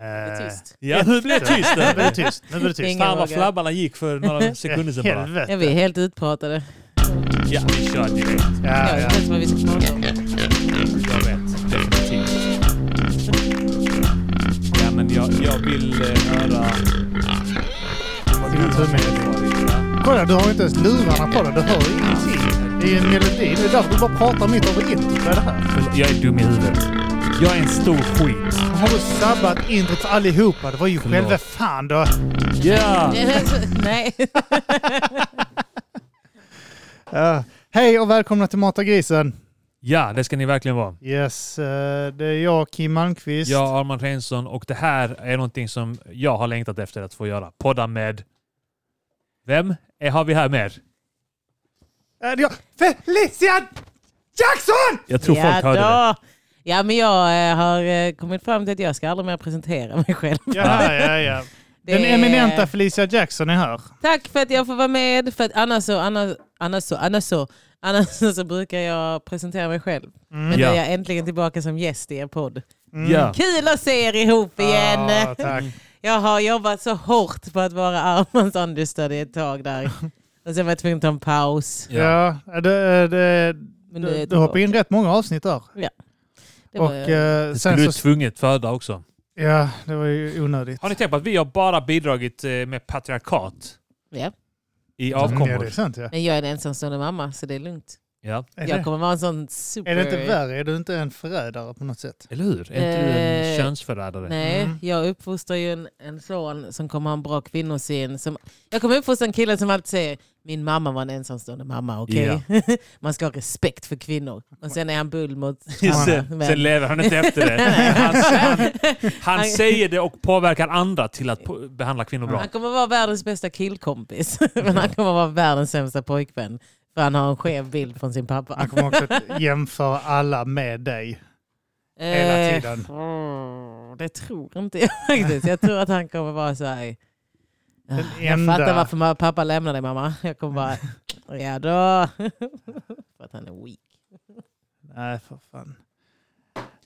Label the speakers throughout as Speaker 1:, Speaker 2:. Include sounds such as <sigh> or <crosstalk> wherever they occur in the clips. Speaker 1: är
Speaker 2: Eh,
Speaker 1: tyst.
Speaker 3: Ja, nu blev det
Speaker 2: <laughs>
Speaker 3: tyst.
Speaker 2: Nu blir
Speaker 3: där.
Speaker 2: det tyst. Nu blir det tyst.
Speaker 1: Ingen
Speaker 3: Fan vad
Speaker 1: vågar.
Speaker 3: flabbarna gick för några sekunder sedan bara.
Speaker 1: Ja,
Speaker 2: Helvete.
Speaker 1: vi är helt utpratade.
Speaker 3: Ja, vi kör direkt.
Speaker 1: Jag
Speaker 2: Ja,
Speaker 1: vet
Speaker 2: ja,
Speaker 1: inte ens vad vi ska prata om.
Speaker 3: Jag vet, definitivt. Ja, men jag, jag vill eh, höra... vad
Speaker 2: Dina
Speaker 3: du-
Speaker 2: trummelodin. Kolla, du har ju inte ens lurarna på dig. Du hör ju ingenting. Det är ju en melodi. Det är därför du bara pratar mitt över introt. Vad är det här?
Speaker 3: Förlåt, Jag är dum i huvudet. Jag är en stor skit.
Speaker 2: Har du sabbat introt för allihopa? Det var ju
Speaker 3: Förlåt.
Speaker 2: själva fan då.
Speaker 3: Ja!
Speaker 1: Det är så- <laughs> Nej.
Speaker 2: Ja. hej och välkomna till Mata grisen.
Speaker 3: Ja, det ska ni verkligen vara.
Speaker 2: Yes, eh, det är jag Kim Malmqvist. Eh,
Speaker 3: Jag är Armand Reinsson och det här är någonting som jag har längtat efter att få göra. Podda med... Vem är, har vi här med?
Speaker 2: Är det jag? Felicia Jackson!
Speaker 3: Jag tror folk hörde det.
Speaker 1: då. Ja, men jag eh, har eh, kommit fram till att jag ska aldrig mer presentera mig själv.
Speaker 2: Ja, ja,
Speaker 1: <laughs>
Speaker 2: ja. <laughs>
Speaker 1: Det
Speaker 2: Den
Speaker 1: är-
Speaker 2: eminenta Felicia Jackson är här.
Speaker 1: Tack för att jag får vara med. För att annars så, annars, annars så, annars så, annars så brukar jag presentera mig själv.
Speaker 2: Mm.
Speaker 1: Men
Speaker 3: Ja.
Speaker 1: nu är jag äntligen tillbaka som gäst i er podd.
Speaker 3: Ja.
Speaker 1: Kul att se er ihop igen.
Speaker 2: Ja, tack.
Speaker 1: <laughs> Jag har jobbat så hårt på att vara Armands understudy ett
Speaker 2: <laughs>
Speaker 1: tag där. Och sen var jag tvungen att ta en paus.
Speaker 3: Ja.
Speaker 2: Ja, det, det,
Speaker 1: Men nu är
Speaker 2: du,
Speaker 1: jag
Speaker 2: du hoppade
Speaker 1: tillbaka.
Speaker 2: in rätt många avsnitt där.
Speaker 1: Det
Speaker 2: Och
Speaker 1: var-
Speaker 2: eh,
Speaker 3: Det skulle
Speaker 2: sen
Speaker 3: du
Speaker 2: så...
Speaker 3: tvunget föda också.
Speaker 2: Ja, det var ju onödigt.
Speaker 3: Har ni tänkt på att vi har bara bidragit eh, med patriarkat
Speaker 1: ja.
Speaker 3: i
Speaker 2: Ja, det
Speaker 3: avkommor?
Speaker 2: är sant ja.
Speaker 1: Men jag är en ensamstående mamma så det är lugnt.
Speaker 3: Ja.
Speaker 2: Är
Speaker 1: Jag
Speaker 2: det,
Speaker 1: kommer vara en sån super...
Speaker 2: är det inte värre? Är du inte en förrädare på något sätt?
Speaker 3: Eller hur? Är inte du en
Speaker 1: Eh,
Speaker 3: könsförrädare?
Speaker 1: Nej,
Speaker 2: Mm.
Speaker 1: jag uppfostrar ju en, en son som kommer ha en bra kvinnosyn. Som, jag kommer uppfostra en kille som alltid säger min mamma var en ensamstående mamma, okej? <laughs> Man ska ha respekt för kvinnor. Och sen är han bull mot...
Speaker 2: <laughs>
Speaker 3: sen,
Speaker 1: Men-
Speaker 3: sen lever han inte efter det. Han,
Speaker 1: <laughs>
Speaker 3: han, han säger det och påverkar andra till att po- behandla kvinnor bra.
Speaker 1: Han kommer vara världens bästa killkompis. <laughs> Men han kommer vara världens sämsta pojkvän. För han har en skev bild från sin pappa.
Speaker 2: Man kommer också
Speaker 1: <laughs>
Speaker 2: att jämföra alla med dig hela
Speaker 1: Eh,
Speaker 2: tiden.
Speaker 1: mm, det tror inte jag faktiskt. Jag tror att han kommer vara så här... Ah,
Speaker 2: Den
Speaker 1: Jag
Speaker 2: enda-
Speaker 1: fattar varför ma- pappa lämnar dig mamma. Jag kommer bara, ja då. <laughs> För att han är weak.
Speaker 2: Nej, för fan.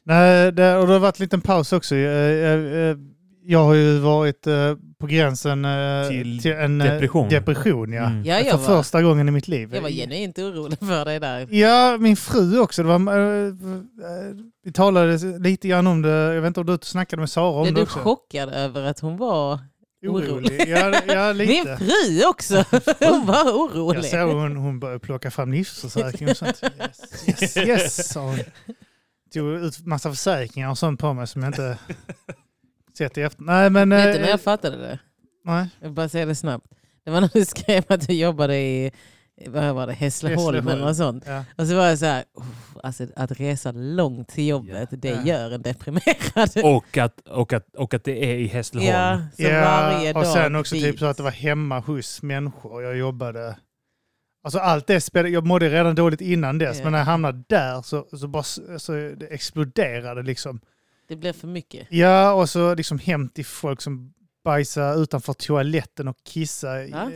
Speaker 2: Nej, det, och det har varit en liten paus också. Jag, jag, jag har ju varit eh, på gränsen eh,
Speaker 3: Till
Speaker 2: en eh,
Speaker 3: depression.
Speaker 2: depression ja.
Speaker 3: Mm.
Speaker 1: Ja, jag,
Speaker 2: För
Speaker 1: var,
Speaker 2: första gången i mitt liv.
Speaker 1: jag var genuint orolig för dig där.
Speaker 2: Ja, min fru också. Det var, eh, eh, vi talade lite grann om det. Jag vet inte om du snackade med Sara om
Speaker 1: Blev
Speaker 2: det
Speaker 1: du
Speaker 2: också.
Speaker 1: chockad över att hon var orolig?
Speaker 2: Ja, ja
Speaker 1: <laughs> Min
Speaker 2: lite.
Speaker 1: fru också! <laughs> Hon var orolig.
Speaker 2: Jag såg hon, hon började plocka fram livsförsäkring och sånt. Yes, yes, yes sa
Speaker 1: <laughs>
Speaker 2: hon. Tog ut massa försäkringar och sånt på mig som jag inte sett i efter. Nej, men...
Speaker 1: Vet du när
Speaker 2: eh,
Speaker 1: jag fattade det?
Speaker 2: nej.
Speaker 1: Jag vill bara säga det snabbt. Det var <laughs> när du skrev att du jobbade i vad var det, Hässleholm eller
Speaker 2: Hässleholm.
Speaker 1: något sånt.
Speaker 2: Ja.
Speaker 1: Och så var jag så här, "Uff, alltså, att resa långt till jobbet, det
Speaker 2: Ja.
Speaker 1: gör en deprimerad. <laughs>
Speaker 3: Och, att, och, att, och att det är i Hässleholm.
Speaker 1: Ja, så varje
Speaker 2: Ja,
Speaker 1: dag
Speaker 2: och sen också
Speaker 1: dit.
Speaker 2: typ så att det var hemma hos människor. Jag jobbade... Alltså allt det spelade, jag mådde redan dåligt innan dess,
Speaker 1: Ja.
Speaker 2: men när jag hamnade där så, så, bara, så det exploderade liksom.
Speaker 1: Det blev för mycket.
Speaker 2: Ja, och så liksom hem till folk som bajsade utanför toaletten och kissade. i-
Speaker 1: Va?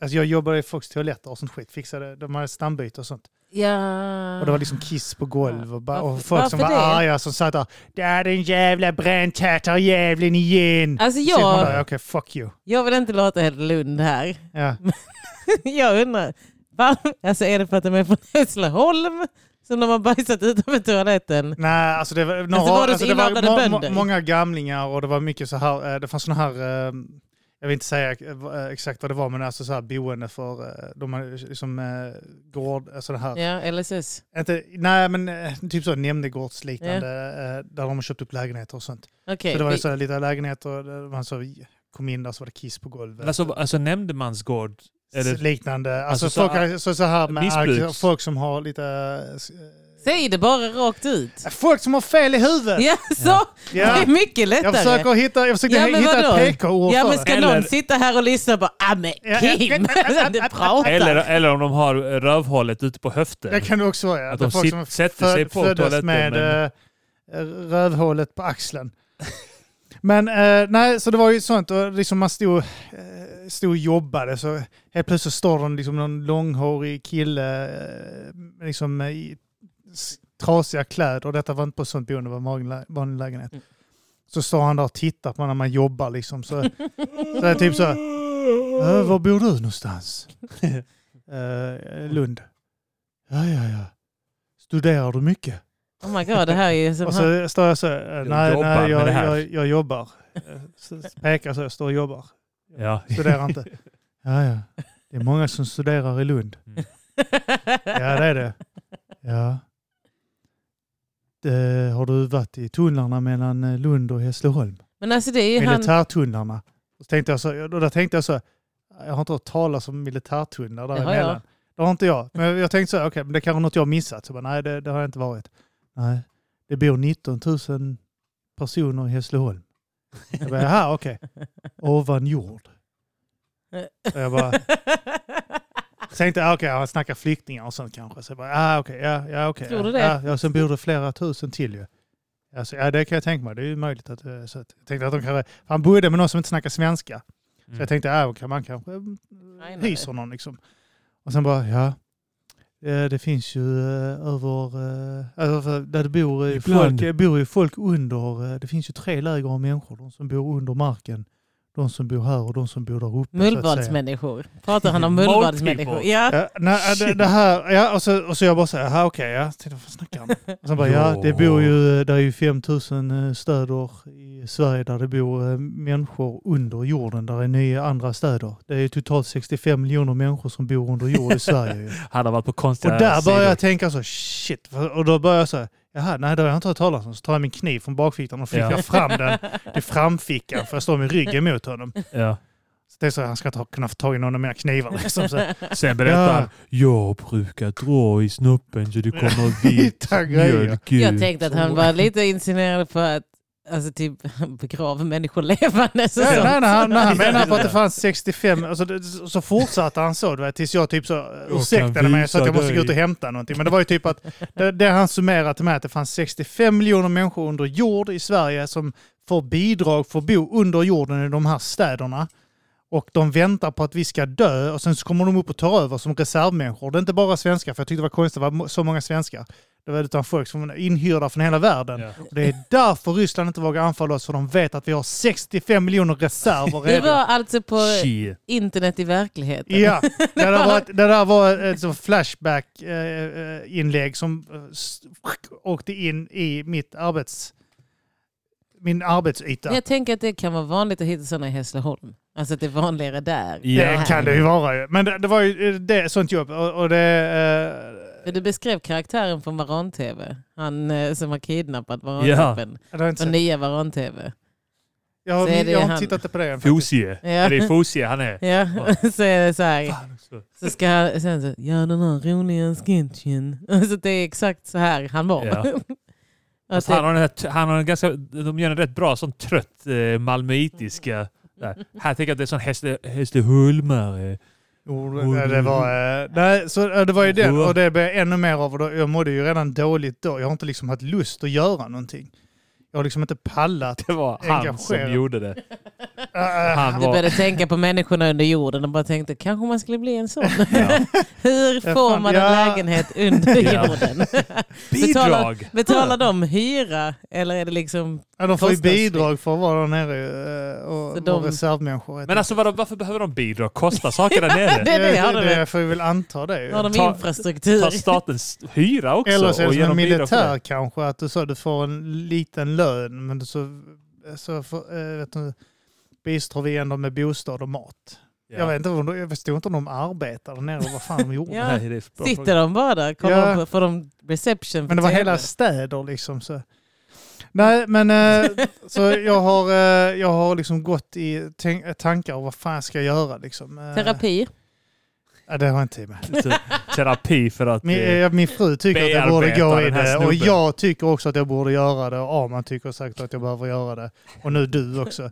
Speaker 2: Alltså jag jobbade i folks toaletter och sånt skit, fixade, de hade stambyte och sånt.
Speaker 1: Ja.
Speaker 2: Och det var liksom kiss på golv och, bara, och
Speaker 1: Ah. Varför-
Speaker 2: folk som var
Speaker 1: varför det?
Speaker 2: arga som satt där. Där den jävla bränntatarjäveln igen!
Speaker 1: Alltså
Speaker 2: Sitter Typ man där, Okej,
Speaker 1: jag,
Speaker 2: fuck you.
Speaker 1: jag vill inte låta helt Lund här. <laughs>
Speaker 2: Ja.
Speaker 1: Jag undrar, var, alltså är det för att de är från Hässleholm som de har bajsat utanför toaletten?
Speaker 2: Nej, alltså det var, några,
Speaker 1: var det så
Speaker 2: alltså det var
Speaker 1: invandrade bönder?
Speaker 2: må, må, många gamlingar och det var mycket så här, eh, det fanns sådana här, eh, jag vill inte säga eh, exakt vad det var, men alltså så här boende för, eh, de hade liksom eh, gård, alltså det här,
Speaker 1: Ja, LSS.
Speaker 2: inte, nej men eh, typ så nämndegårdsliknande, eh, där de har köpt upp lägenheter och sånt.
Speaker 1: Okej,
Speaker 2: så det var
Speaker 1: vi-
Speaker 2: så här, lite lägenheter, där man så kom in där så var det kiss på golvet.
Speaker 3: Alltså, alltså nämndemansgård. Eller,
Speaker 2: liknande, alltså,
Speaker 3: Alltså så
Speaker 2: folk, har- så, så här med
Speaker 3: missbruks-
Speaker 2: ark- folk som har lite, eh,
Speaker 1: säg det bara rakt ut.
Speaker 2: folk som har fel i huvudet!
Speaker 1: Ja, så,
Speaker 2: Ja.
Speaker 1: det är mycket lättare.
Speaker 2: Jag försöker hitta, jag försökte
Speaker 1: Ja, men
Speaker 2: hitta
Speaker 1: vadå?
Speaker 2: ett PK-ord
Speaker 1: Ja
Speaker 2: för
Speaker 1: men
Speaker 2: det.
Speaker 1: ska
Speaker 3: Eller-
Speaker 1: någon sitta här och lyssna på ah men
Speaker 2: Ja,
Speaker 1: Kim, <laughs> alltså,
Speaker 2: ja,
Speaker 1: du pratar.
Speaker 3: eller, eller om de har rövhålet ute på
Speaker 2: Det
Speaker 3: höften.
Speaker 2: kan det också vara ja.
Speaker 3: Att
Speaker 2: Det är
Speaker 3: de
Speaker 2: folk
Speaker 3: sit-
Speaker 2: som
Speaker 3: sätter
Speaker 2: fö-
Speaker 3: sig på
Speaker 2: föddes
Speaker 3: toaletten,
Speaker 2: med
Speaker 3: men-
Speaker 2: eh, rövhålet på axeln. Men eh, nej, så det var ju sånt. Och liksom man stod, eh, stod och jobbade så helt plötsligt står det liksom någon långhårig kille eh, liksom, eh, i s- trasiga kläder. Och detta var inte på ett sånt boende, det var en vanlig lä- vanlig lägenhet.
Speaker 1: Mm.
Speaker 2: Så står han där och tittar på när man jobbar liksom. Så, så är det typ så här, "Äh, var bor du <laughs> någonstans? "Eh, Lund. Ja, ja, ja. Studerar du mycket?
Speaker 1: Oh my god, det här är ju som...
Speaker 2: Och så står jag så, "Eh, nej,
Speaker 3: jobbar
Speaker 2: nej,
Speaker 3: med
Speaker 2: jag,
Speaker 3: det här."
Speaker 2: jag, jag jobbar. Eh, <laughs> Så pekar så, jag står och jobbar.
Speaker 3: Ja.
Speaker 2: Studerar
Speaker 3: <laughs>
Speaker 2: inte. Ja, ja. Det är många som studerar i Lund. Ja, det är det. Ja. Det, Eh, har du varit i tunnlarna mellan eh, Lund och Hässleholm?
Speaker 1: Men alltså det är ju han...
Speaker 2: Militärtunnlarna. Och så tänkte jag så, och då tänkte jag så, jag har inte hört talas om militärtunnlar
Speaker 1: Det har jag.
Speaker 2: däremellan. Det har inte jag. Men jag tänkte så, här, okej, men det kanske är något jag har missat. Så jag bara, nej, det, det har jag inte varit. Nej, det bor 19 000 personer i Hässleholm. Jag bara, jaha,
Speaker 1: <laughs>
Speaker 2: okej. Ovan jord. Så jag bara, tänkte jag, ah, okej, han snackar flyktingar och sånt kanske. Så jag bara, ah, okej, ja, ja, okej.
Speaker 1: Tror
Speaker 2: ja,
Speaker 1: du det?
Speaker 2: Ja, ja, sen bor det flera tusen till ju. Alltså, ja, det kan jag tänka mig. Det är ju möjligt att, eh, så att jag tänkte att de kanske, för han bodde med någon som inte snackar svenska.
Speaker 3: Mm.
Speaker 2: Så jag tänkte, ja, kan man kanske eh,
Speaker 1: Nej, nej.
Speaker 2: hyser någon liksom. Och sen bara, ja. eh, Det finns ju eh, över, eh, alltså för där det bor, eh,
Speaker 3: Ibland.
Speaker 2: folk, eh, bor ju folk under, eh, det finns ju tre läger av människor. De som bor under marken, de som bor här och de som bor där uppe. så att säga.
Speaker 1: Mullvadsmänniskor. Pratar han om
Speaker 3: Mole
Speaker 1: mullvadsmänniskor?
Speaker 3: people.
Speaker 1: Ja.
Speaker 2: <laughs> Ja, nej, det, det här, ja, och, så, och så jag bara säger, här okej, ja. Tänkte, vad fan snackar han om? Och sen bara, ja, det bor ju, där är ju 5000 städer i Sverige där det bor eh, människor under jorden. Där är nio andra städer. Det är ju totalt 65 miljoner människor som bor under jord i Sverige.
Speaker 3: <laughs>
Speaker 2: ju.
Speaker 3: Han har varit på
Speaker 2: Och
Speaker 3: konstiga
Speaker 2: där
Speaker 3: sidor.
Speaker 2: börjar jag tänka så, shit. Och då börjar jag så här, jaha, nej det har jag inte hört talas om. Så tar jag min kniv från bakfickan och fickar
Speaker 3: Ja.
Speaker 2: fram
Speaker 3: <laughs>
Speaker 2: den till framfickan för jag står med ryggen mot honom.
Speaker 3: Ja.
Speaker 2: Så det är så, här, han ska ta, kunna få tag i någon av mina knivar liksom. Så. här.
Speaker 3: Sen berättar
Speaker 2: Ja.
Speaker 3: han, jag brukar dra i snoppen så det kommer
Speaker 2: <laughs>
Speaker 3: vit
Speaker 2: Hitta grejer.
Speaker 3: mjölk
Speaker 1: Jag
Speaker 3: ut."
Speaker 1: tänkte att han var lite insinuerad på att alltså, typ, begrava människor levande. Så
Speaker 2: Nej,
Speaker 1: sånt.
Speaker 2: nej, nej, han, nej, han menar på att det fanns 65, alltså, det, så fortsatte han så, du vet, tills jag typ så ursäktade
Speaker 3: kan
Speaker 2: mig så att jag
Speaker 3: visa
Speaker 2: måste gå ut och
Speaker 3: dig.
Speaker 2: hämta någonting. Men det var ju typ att, det, det han summerade till mig, att det fanns 65 miljoner människor under jord i Sverige som får bidrag för att bo under jorden i de här städerna. Och de väntar på att vi ska dö och sen så kommer de upp och tar över som reservmänniskor. Det är inte bara svenskar, för jag tyckte det var konstigt att det var så många svenskar. Det var utan folk som var inhyrda från hela världen.
Speaker 3: Ja.
Speaker 2: Och det är därför Ryssland inte vågar anfalla oss, för de vet att vi har 65 miljoner reserver
Speaker 1: Det var
Speaker 2: redan.
Speaker 1: alltså på
Speaker 3: Shit.
Speaker 1: internet i verkligheten.
Speaker 2: Ja, det där var, ett- det där var ett sånt Flashback-inlägg som eh, s- åkte in i mitt arbets, min arbetsyta.
Speaker 1: Men Jag tänker att det kan vara vanligt att hitta sådana i Hässleholm. Alltså att det är vanligare där.
Speaker 3: Ja.
Speaker 2: Det kan det ju vara ju. Men det, det var ju eh, det, sånt jobb. Och, och det, eh,
Speaker 1: För du beskrev karaktären från Varan-TV. Han eh, som har kidnappat
Speaker 3: Ja.
Speaker 1: Varan-appen.
Speaker 2: det har jag inte
Speaker 1: Och
Speaker 2: sett.
Speaker 1: nya Varan-TV.
Speaker 2: Jag har,
Speaker 1: så är det
Speaker 2: jag har
Speaker 1: han-
Speaker 2: inte tittat på det än. faktiskt.
Speaker 3: Fosie.
Speaker 1: Ja.
Speaker 3: Ja. Det är Fosie han är.
Speaker 1: <laughs> Ja, så är det så här.
Speaker 3: så.
Speaker 1: Så ska han sen så, ja den här roliga sketchen. <laughs> Alltså det är exakt så här han var.
Speaker 3: Ja.
Speaker 1: Att
Speaker 3: Fast han, har den här, han har en ganska, de gör en rätt bra sån trött eh, malmöitiska... Där. Här tänker jag att det är sån häste, hästehulmare.
Speaker 2: Jo, det, det var, eh, nej, så, eh, det var ju det. Och det blev jag ännu mer av. och då- Jag mådde ju redan dåligt då. Jag har inte liksom haft lust att göra någonting. Jag har liksom inte
Speaker 3: <laughs>
Speaker 2: pallat.
Speaker 3: Det var han som
Speaker 2: Engagerad.
Speaker 3: gjorde det.
Speaker 2: Eh, eh,
Speaker 3: Han
Speaker 1: du
Speaker 3: var,
Speaker 1: började tänka på människorna under jorden och bara tänkte kanske man skulle bli en sån.
Speaker 3: ja.
Speaker 1: <laughs> Hur
Speaker 2: Ja,
Speaker 1: får
Speaker 2: fan,
Speaker 1: man en
Speaker 2: ja.
Speaker 1: lägenhet under
Speaker 3: Ja.
Speaker 1: jorden? <laughs> Betala-
Speaker 3: Bidrag!
Speaker 1: Betalar de hyra eller är det liksom...
Speaker 2: ja, de får ju
Speaker 1: Kostnadsfritt.
Speaker 2: bidrag för att vara där nere eh, och
Speaker 1: Så
Speaker 2: vara
Speaker 1: de-
Speaker 2: reservmänniskor.
Speaker 3: Men alltså vadå, varför behöver de bidrag? Kosta saker där
Speaker 1: <laughs>
Speaker 3: nere?
Speaker 1: det är det, har de
Speaker 2: det,
Speaker 1: väl.
Speaker 2: jag får ju väl anta det. ju.
Speaker 1: Har de
Speaker 3: Eh, Ta-
Speaker 1: infrastruktur?
Speaker 3: Tar statens hyra också?
Speaker 2: Eller så är
Speaker 3: och
Speaker 2: det
Speaker 3: ger
Speaker 2: som en
Speaker 3: dem bidrag för det?
Speaker 2: militär kanske, att du, så, du får en liten lön men du så, så får, eh, vet du, bistår vi ändå med bostad och mat.
Speaker 3: Ja.
Speaker 2: Jag, vet inte, om de- jag förstod inte om de arbetar där nere och vad fan de gjorde.
Speaker 1: Ja.
Speaker 3: Nej, det är bra fråga.
Speaker 1: Sitter de bara där? Kollar
Speaker 2: Ja.
Speaker 1: på, får de reception?
Speaker 2: Men det var
Speaker 1: på
Speaker 2: hela
Speaker 1: TV?
Speaker 2: städer liksom. Så. Nej, men
Speaker 1: <laughs>
Speaker 2: eh, så jag har, eh, jag har liksom gått i tänk- tankar om vad fan ska jag göra liksom. Eh,
Speaker 3: <laughs>
Speaker 1: Terapi?
Speaker 2: Ja, det har jag inte tid med.
Speaker 3: Så, terapi för att...
Speaker 2: Min,
Speaker 3: eh,
Speaker 2: eh, min fru tycker att jag borde
Speaker 3: bearbeta
Speaker 2: gå i
Speaker 3: den här
Speaker 2: det och
Speaker 3: snubben.
Speaker 2: jag tycker också att jag borde göra det och Arman tycker säkert att jag behöver göra det. Och nu du också.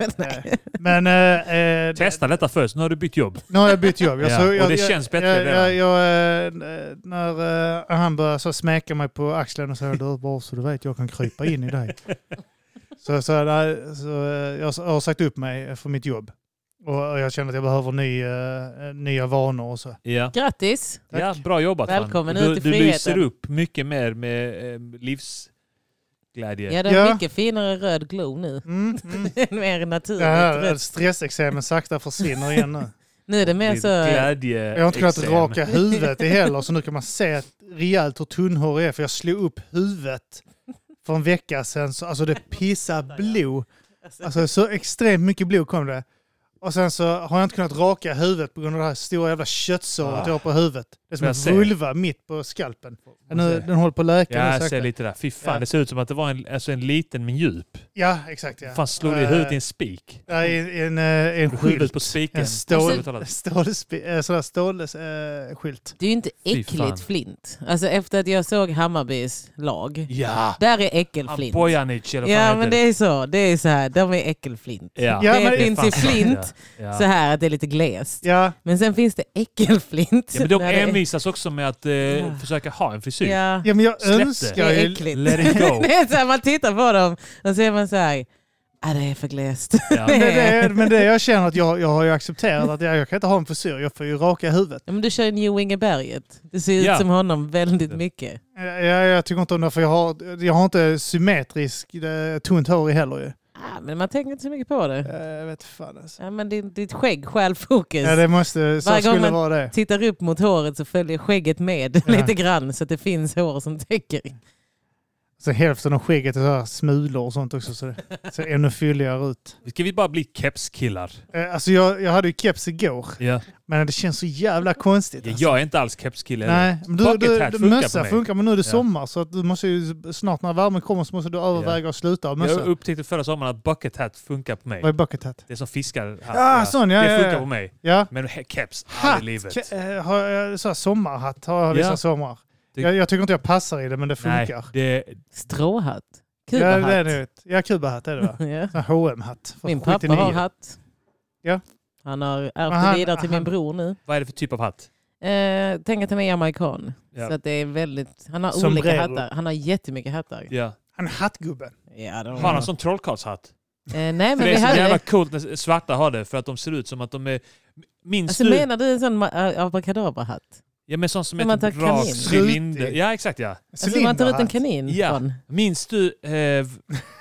Speaker 2: Eh, Men eh, eh,
Speaker 3: Testa detta först, nu har du bytt jobb.
Speaker 2: nu har jag bytt jobb. Jag,
Speaker 3: Ja,
Speaker 2: så-
Speaker 3: och
Speaker 2: jag,
Speaker 3: det
Speaker 2: jag,
Speaker 3: känns bättre
Speaker 2: Jag, jag,
Speaker 3: redan.
Speaker 2: jag, eh, när eh, han började så smäcka mig på axeln och säga du bara så du vet jag kan krypa in i
Speaker 3: <laughs>
Speaker 2: dig. Så, så, nej, så eh, jag har sagt upp mig från mitt jobb. Och och jag känner att jag behöver ny, eh, nya vanor och så.
Speaker 3: Ja.
Speaker 1: <laughs> Grattis!
Speaker 2: Tack.
Speaker 3: ja, bra jobbat. man.
Speaker 1: Välkommen
Speaker 3: du,
Speaker 1: ut i
Speaker 3: Du
Speaker 1: friheten.
Speaker 3: lyser upp mycket mer med eh, livs... glädje.
Speaker 1: Ja, det är
Speaker 2: Ja.
Speaker 1: mycket finare röd glow nu. <laughs>
Speaker 2: Mm,
Speaker 3: <laughs>
Speaker 2: mm.
Speaker 1: mer naturligt
Speaker 2: Det här
Speaker 1: rött.
Speaker 2: stressexemen sakta försvinner igen
Speaker 3: <laughs>
Speaker 2: nu.
Speaker 1: Nu är det mer
Speaker 3: alltså- Lite
Speaker 1: så...
Speaker 3: Glädje.
Speaker 2: Jag har inte kunnat
Speaker 3: eksem.
Speaker 2: raka huvudet i heller så nu kan man se att rejält hur tunnhårig jag är för jag slog upp huvudet för en vecka sedan. Så, alltså det pissar blod. Alltså så extremt mycket blod kom det. Och sen så har jag inte kunnat raka huvudet på grund av det här stora jävla köttsåret
Speaker 3: Ah.
Speaker 2: jag har på huvudet. Det är som
Speaker 3: Jag
Speaker 2: en
Speaker 3: ser.
Speaker 2: vulva mitt på skalpen.
Speaker 3: Får
Speaker 2: Den,
Speaker 3: man
Speaker 2: nu,
Speaker 3: se.
Speaker 2: den håller på att läka.
Speaker 3: Ja,
Speaker 2: nu
Speaker 3: jag
Speaker 2: sakta.
Speaker 3: ser lite där. Fy fan,
Speaker 2: Ja.
Speaker 3: det ser ut som att det var en, alltså en liten men djup.
Speaker 2: ja exakt. Ja.
Speaker 3: Fan, slog det i
Speaker 2: Eh,
Speaker 3: huvudet i en spik?
Speaker 2: Ja, i, i en, eh, i en skylt.
Speaker 3: Huvudet på spiken. Alltså,
Speaker 2: En
Speaker 3: Bokstavligt
Speaker 2: stål,
Speaker 3: talat.
Speaker 2: stål, stål, stål, eh, skylt.
Speaker 1: Det är ju inte
Speaker 3: Fy fan.
Speaker 1: äckligt flint. Alltså efter att jag såg Hammarbys lag.
Speaker 3: Ja!
Speaker 1: Där är äckelflint.
Speaker 3: Bojanic eller vad
Speaker 1: Ja
Speaker 3: fan
Speaker 1: men det är så. Det är så här. De är äckelflint.
Speaker 3: Ja.
Speaker 2: Ja,
Speaker 1: det
Speaker 2: men-
Speaker 1: finns
Speaker 3: fan
Speaker 1: i
Speaker 3: sant,
Speaker 1: flint.
Speaker 3: Ja. Ja.
Speaker 1: Så här att det är lite glest.
Speaker 2: Ja,
Speaker 1: Men sen finns det äckelflint.
Speaker 3: Ja, men de
Speaker 1: När det är-
Speaker 3: envisas också med att eh,
Speaker 1: Ja.
Speaker 3: försöka ha en frisyr.
Speaker 1: Ja,
Speaker 2: ja men jag
Speaker 3: Släpp
Speaker 1: det
Speaker 3: det.
Speaker 2: önskar
Speaker 1: är
Speaker 2: ju...
Speaker 1: äckligt.
Speaker 3: Let it go.
Speaker 1: <laughs> Det är så här, man tittar på dem och så är man så här. Ah, det är för glest.
Speaker 3: Ja.
Speaker 2: Men det, är, men det jag känner att jag, jag har ju accepterat att jag, jag kan inte ha en frisyr, jag får ju raka huvudet.
Speaker 1: Ja, men du kör ju New Ingeberget. Det ser ut
Speaker 3: Ja.
Speaker 1: som honom väldigt
Speaker 3: Ja.
Speaker 1: mycket.
Speaker 2: Jag, jag, jag tycker inte om det för jag har, jag har inte symmetriskt eh, tunt hår i heller ju.
Speaker 1: Ah, men man tänker inte så mycket på det.
Speaker 2: Eh, Jag vet fan alltså.
Speaker 1: Ja, men din, ditt skägg stjäl fokus.
Speaker 2: Ja det måste, så
Speaker 1: Varje gång
Speaker 2: skulle det
Speaker 1: man-
Speaker 2: vara det.
Speaker 1: Tittar upp mot håret så följer skägget med
Speaker 2: Ja.
Speaker 1: lite grann så att det finns hår som täcker.
Speaker 2: Så hälften av skägget är så här smulor och sånt också så det
Speaker 3: <laughs>
Speaker 2: ser ännu fylligare ut.
Speaker 3: Ska vi bara bli
Speaker 2: <laughs>
Speaker 3: kepskillar?
Speaker 2: Eh, Alltså jag, jag hade ju keps igår,
Speaker 3: Ja.
Speaker 2: men det känns så jävla konstigt.
Speaker 3: Ja,
Speaker 2: Alltså.
Speaker 3: jag är inte alls kepskille.
Speaker 2: Nej, men du,
Speaker 3: Bucket
Speaker 2: du,
Speaker 3: hat
Speaker 2: du,
Speaker 3: funkar
Speaker 2: mössa
Speaker 3: på mig.
Speaker 2: funkar men nu är det
Speaker 3: Ja.
Speaker 2: sommar så att du måste ju snart när värmen kommer så måste du överväga att sluta ha
Speaker 3: Jag
Speaker 2: mössa.
Speaker 3: upptäckte förra sommaren att bucket hat funkar på mig.
Speaker 2: Vad är bucket hat?
Speaker 3: Det är som fiskar.
Speaker 2: Ah, sån ja,
Speaker 3: det
Speaker 2: ja,
Speaker 3: funkar
Speaker 2: ja.
Speaker 3: på mig.
Speaker 2: Ja.
Speaker 3: Men he- keps, aldrig i livet.
Speaker 2: Hatt, Ke- eh, har jag så här sommarhatt har jag vissa
Speaker 3: Ja.
Speaker 2: sommar.
Speaker 3: Det-
Speaker 2: Jag, jag tycker inte jag passar i det men det
Speaker 3: Nej,
Speaker 2: funkar.
Speaker 3: det,
Speaker 1: Stråhatt.
Speaker 2: ja,
Speaker 1: Kubahatt.
Speaker 2: det är det. Ja, kubahatt är det
Speaker 3: <laughs>
Speaker 2: va?
Speaker 1: Ja.
Speaker 2: Sån här H&M-hatt. från
Speaker 1: Min pappa
Speaker 2: 79.
Speaker 1: har hatt.
Speaker 2: Ja.
Speaker 1: Han har ärvt
Speaker 2: Men
Speaker 1: det
Speaker 2: han-
Speaker 1: vidare till
Speaker 2: han-
Speaker 1: min bror nu.
Speaker 3: vad är det för typ av hatt?
Speaker 1: Eh, tänk att han är jamaican.
Speaker 3: Ja.
Speaker 1: Så att det är väldigt, han har
Speaker 2: Sombrero.
Speaker 1: olika hattar. Han har jättemycket hattar.
Speaker 3: Ja.
Speaker 2: Han är hattgubben.
Speaker 1: Ja, de,
Speaker 3: Har han sån trollkarlshatt?
Speaker 1: eh, nej, men
Speaker 3: För det
Speaker 1: vi
Speaker 3: är så
Speaker 1: hade, alltså,
Speaker 3: jävla coolt när svarta har det för att de ser ut som att de är... Minns
Speaker 1: alltså,
Speaker 3: du?
Speaker 1: menar du en sån ma- abrakadabra-hatt?
Speaker 3: Ja men sån som
Speaker 1: Som
Speaker 3: är
Speaker 1: man
Speaker 3: typ
Speaker 1: tar
Speaker 3: rak
Speaker 1: kanin.
Speaker 3: cylinder.
Speaker 2: Strutig.
Speaker 3: Ja exakt ja.
Speaker 1: Alltså, man tar ut en
Speaker 2: Cylinderhatt.
Speaker 1: kanin
Speaker 3: Ja.
Speaker 1: från.
Speaker 3: Minns du, eh,
Speaker 1: Vem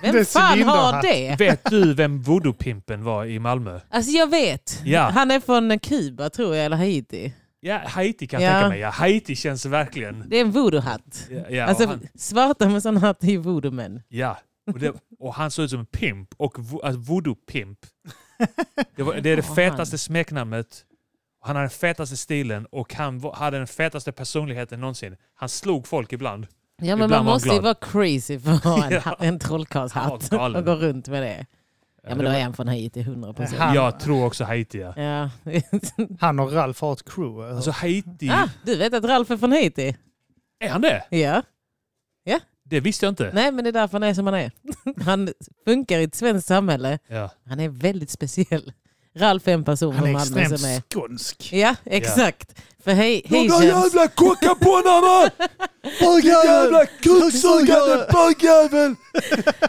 Speaker 2: Det är
Speaker 1: fan har
Speaker 2: cylinderhatt.
Speaker 1: det?
Speaker 3: vet du vem voodoo-pimpen var i Malmö?
Speaker 1: Alltså jag vet.
Speaker 3: Ja.
Speaker 1: Han är från Kuba tror jag, eller Haiti.
Speaker 3: Ja, Haiti kan jag
Speaker 1: Ja.
Speaker 3: tänka mig. Ja, Haiti känns verkligen...
Speaker 1: Det är en voodoo-hatt.
Speaker 3: Ja,
Speaker 1: <laughs>
Speaker 3: ja,
Speaker 1: alltså,
Speaker 3: och han,
Speaker 1: Svarta med sån hatt är ju voodoo-män.
Speaker 3: ja. Och, det, och han såg ut som en pimp. Och vo, alltså, voodoo-pimp. Det, var- det
Speaker 1: <laughs>
Speaker 3: är det
Speaker 1: Ja, han.
Speaker 3: fetaste smeknamnet. Han hade den fetaste stilen och han var, hade den fetaste personligheten någonsin. Han slog folk ibland.
Speaker 1: Ja,
Speaker 3: Ibland
Speaker 1: men
Speaker 3: var
Speaker 1: man
Speaker 3: han
Speaker 1: måste ju
Speaker 3: glad.
Speaker 1: vara crazy för att ha en,
Speaker 3: <laughs> Ja.
Speaker 1: ja. en trollkarlshatt
Speaker 3: Ja, galen.
Speaker 1: och gå runt med det. Ja, men då är han från Haiti 100 procent.
Speaker 2: han.
Speaker 3: Jag tror också Haiti. Ja.
Speaker 1: Ja. <laughs>
Speaker 2: Han och Ralf har ett crew. eh. eller?
Speaker 3: Alltså Haiti,
Speaker 1: ah, du vet att Ralf är från Haiti?
Speaker 3: är han det?
Speaker 1: Ja.
Speaker 3: Det visste jag inte.
Speaker 1: Nej, men det är därför han är som han är. Han funkar i ett svenskt samhälle.
Speaker 3: Ja.
Speaker 1: Han är väldigt speciell. Ralf är en person
Speaker 2: han
Speaker 1: från
Speaker 2: är
Speaker 1: Malmö
Speaker 2: extremt
Speaker 1: som är...
Speaker 2: skånsk.
Speaker 1: Ja, exakt. För hej,
Speaker 3: De
Speaker 1: hej
Speaker 3: där jävla kockaponarna!
Speaker 2: Vilka
Speaker 3: Jävla kuksugande bögjävel!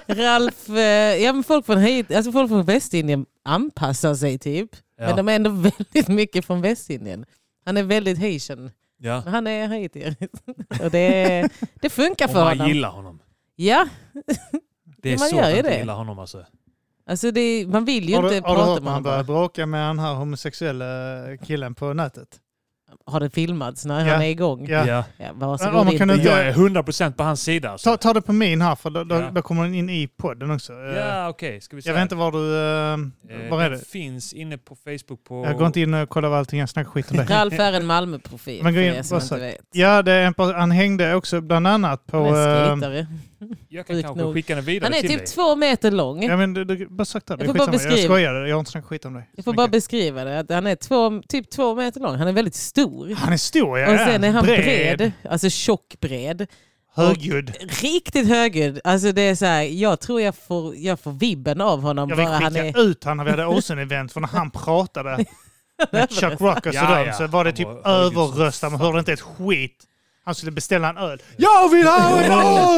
Speaker 1: Ralf, eh, ja, men folk från Haiti, alltså folk från Västindien anpassar sig typ. Men de är ändå <laughs> väldigt mycket från Västindien. Han är väldigt haitian.
Speaker 3: Ja.
Speaker 1: Men Han är haitier. <laughs> Och det, det funkar
Speaker 3: Och
Speaker 1: för
Speaker 3: man
Speaker 1: honom.
Speaker 3: gillar honom.
Speaker 1: Ja,
Speaker 3: Det är
Speaker 1: Ja, man
Speaker 3: så
Speaker 1: gör
Speaker 3: att
Speaker 1: ju
Speaker 3: man
Speaker 1: det.
Speaker 3: gillar honom alltså.
Speaker 1: alltså det, man vill ju
Speaker 2: Har
Speaker 1: inte
Speaker 2: du, har du hört
Speaker 1: prata med
Speaker 2: när han
Speaker 1: honom.
Speaker 2: började bråka med den här homosexuella killen på nätet?
Speaker 1: Har det filmats när
Speaker 2: Ja.
Speaker 1: han är igång? Ja.
Speaker 2: Ja.
Speaker 3: Ja.
Speaker 1: varsågod
Speaker 2: Ja, man kan
Speaker 1: inte.
Speaker 2: inte-
Speaker 3: Jag är 100% Eh, på hans sida. Alltså.
Speaker 2: Ta, ta det på min här för då, då,
Speaker 3: Ja.
Speaker 2: då kommer den in i podden också. Eh,
Speaker 3: Ja, okej. Ska vi se.
Speaker 2: Jag vet inte var du... eh,
Speaker 3: Eh,
Speaker 2: var är
Speaker 3: den
Speaker 2: det?
Speaker 3: finns inne på Facebook på...
Speaker 2: Jag går inte in och kollar vad allting, jag snackar skit om det.
Speaker 1: Ralf är en Malmöprofil
Speaker 2: Men
Speaker 1: för
Speaker 2: gå in,
Speaker 1: er som
Speaker 2: vad
Speaker 1: inte
Speaker 2: sa-
Speaker 1: vet.
Speaker 2: Ja, det är en, pers- han hängde också bland annat på...
Speaker 1: Han är
Speaker 2: eh,
Speaker 1: en skejtare.
Speaker 3: Jag kan
Speaker 1: Sjukt
Speaker 3: kanske
Speaker 1: nog.
Speaker 3: skicka den vidare
Speaker 1: Han är
Speaker 3: till
Speaker 1: typ
Speaker 3: dig.
Speaker 1: två meter lång.
Speaker 2: Ja men du, du, bara sakta. Det är
Speaker 1: Jag får bara
Speaker 2: skitsamma. Jag
Speaker 1: beskriva.
Speaker 2: skojade, jag har inte snackat skit om dig.
Speaker 1: Jag får bara beskriva det. Att han är två, typ två meter lång. Han är väldigt stor.
Speaker 2: Han är stor, ja.
Speaker 1: Och sen är han
Speaker 2: Bred.
Speaker 1: bred. Alltså tjock bred.
Speaker 2: Högljudd.
Speaker 1: Riktigt högljudd. Alltså det är så här, jag tror jag får, jag får vibben av honom.
Speaker 2: Jag vill
Speaker 1: bara
Speaker 2: skicka
Speaker 1: han är,
Speaker 2: ut honom när vi hade Ocean-event för när han
Speaker 1: <laughs>
Speaker 2: pratade med Chuck Rock och så,
Speaker 3: Ja,
Speaker 2: dem,
Speaker 3: ja.
Speaker 2: så var det
Speaker 3: Han
Speaker 2: typ
Speaker 3: var högljudd som
Speaker 2: överröstat. Man
Speaker 3: fan.
Speaker 2: hörde inte ett skit. Han skulle beställa en öl. Jag vill
Speaker 1: <laughs>
Speaker 2: ha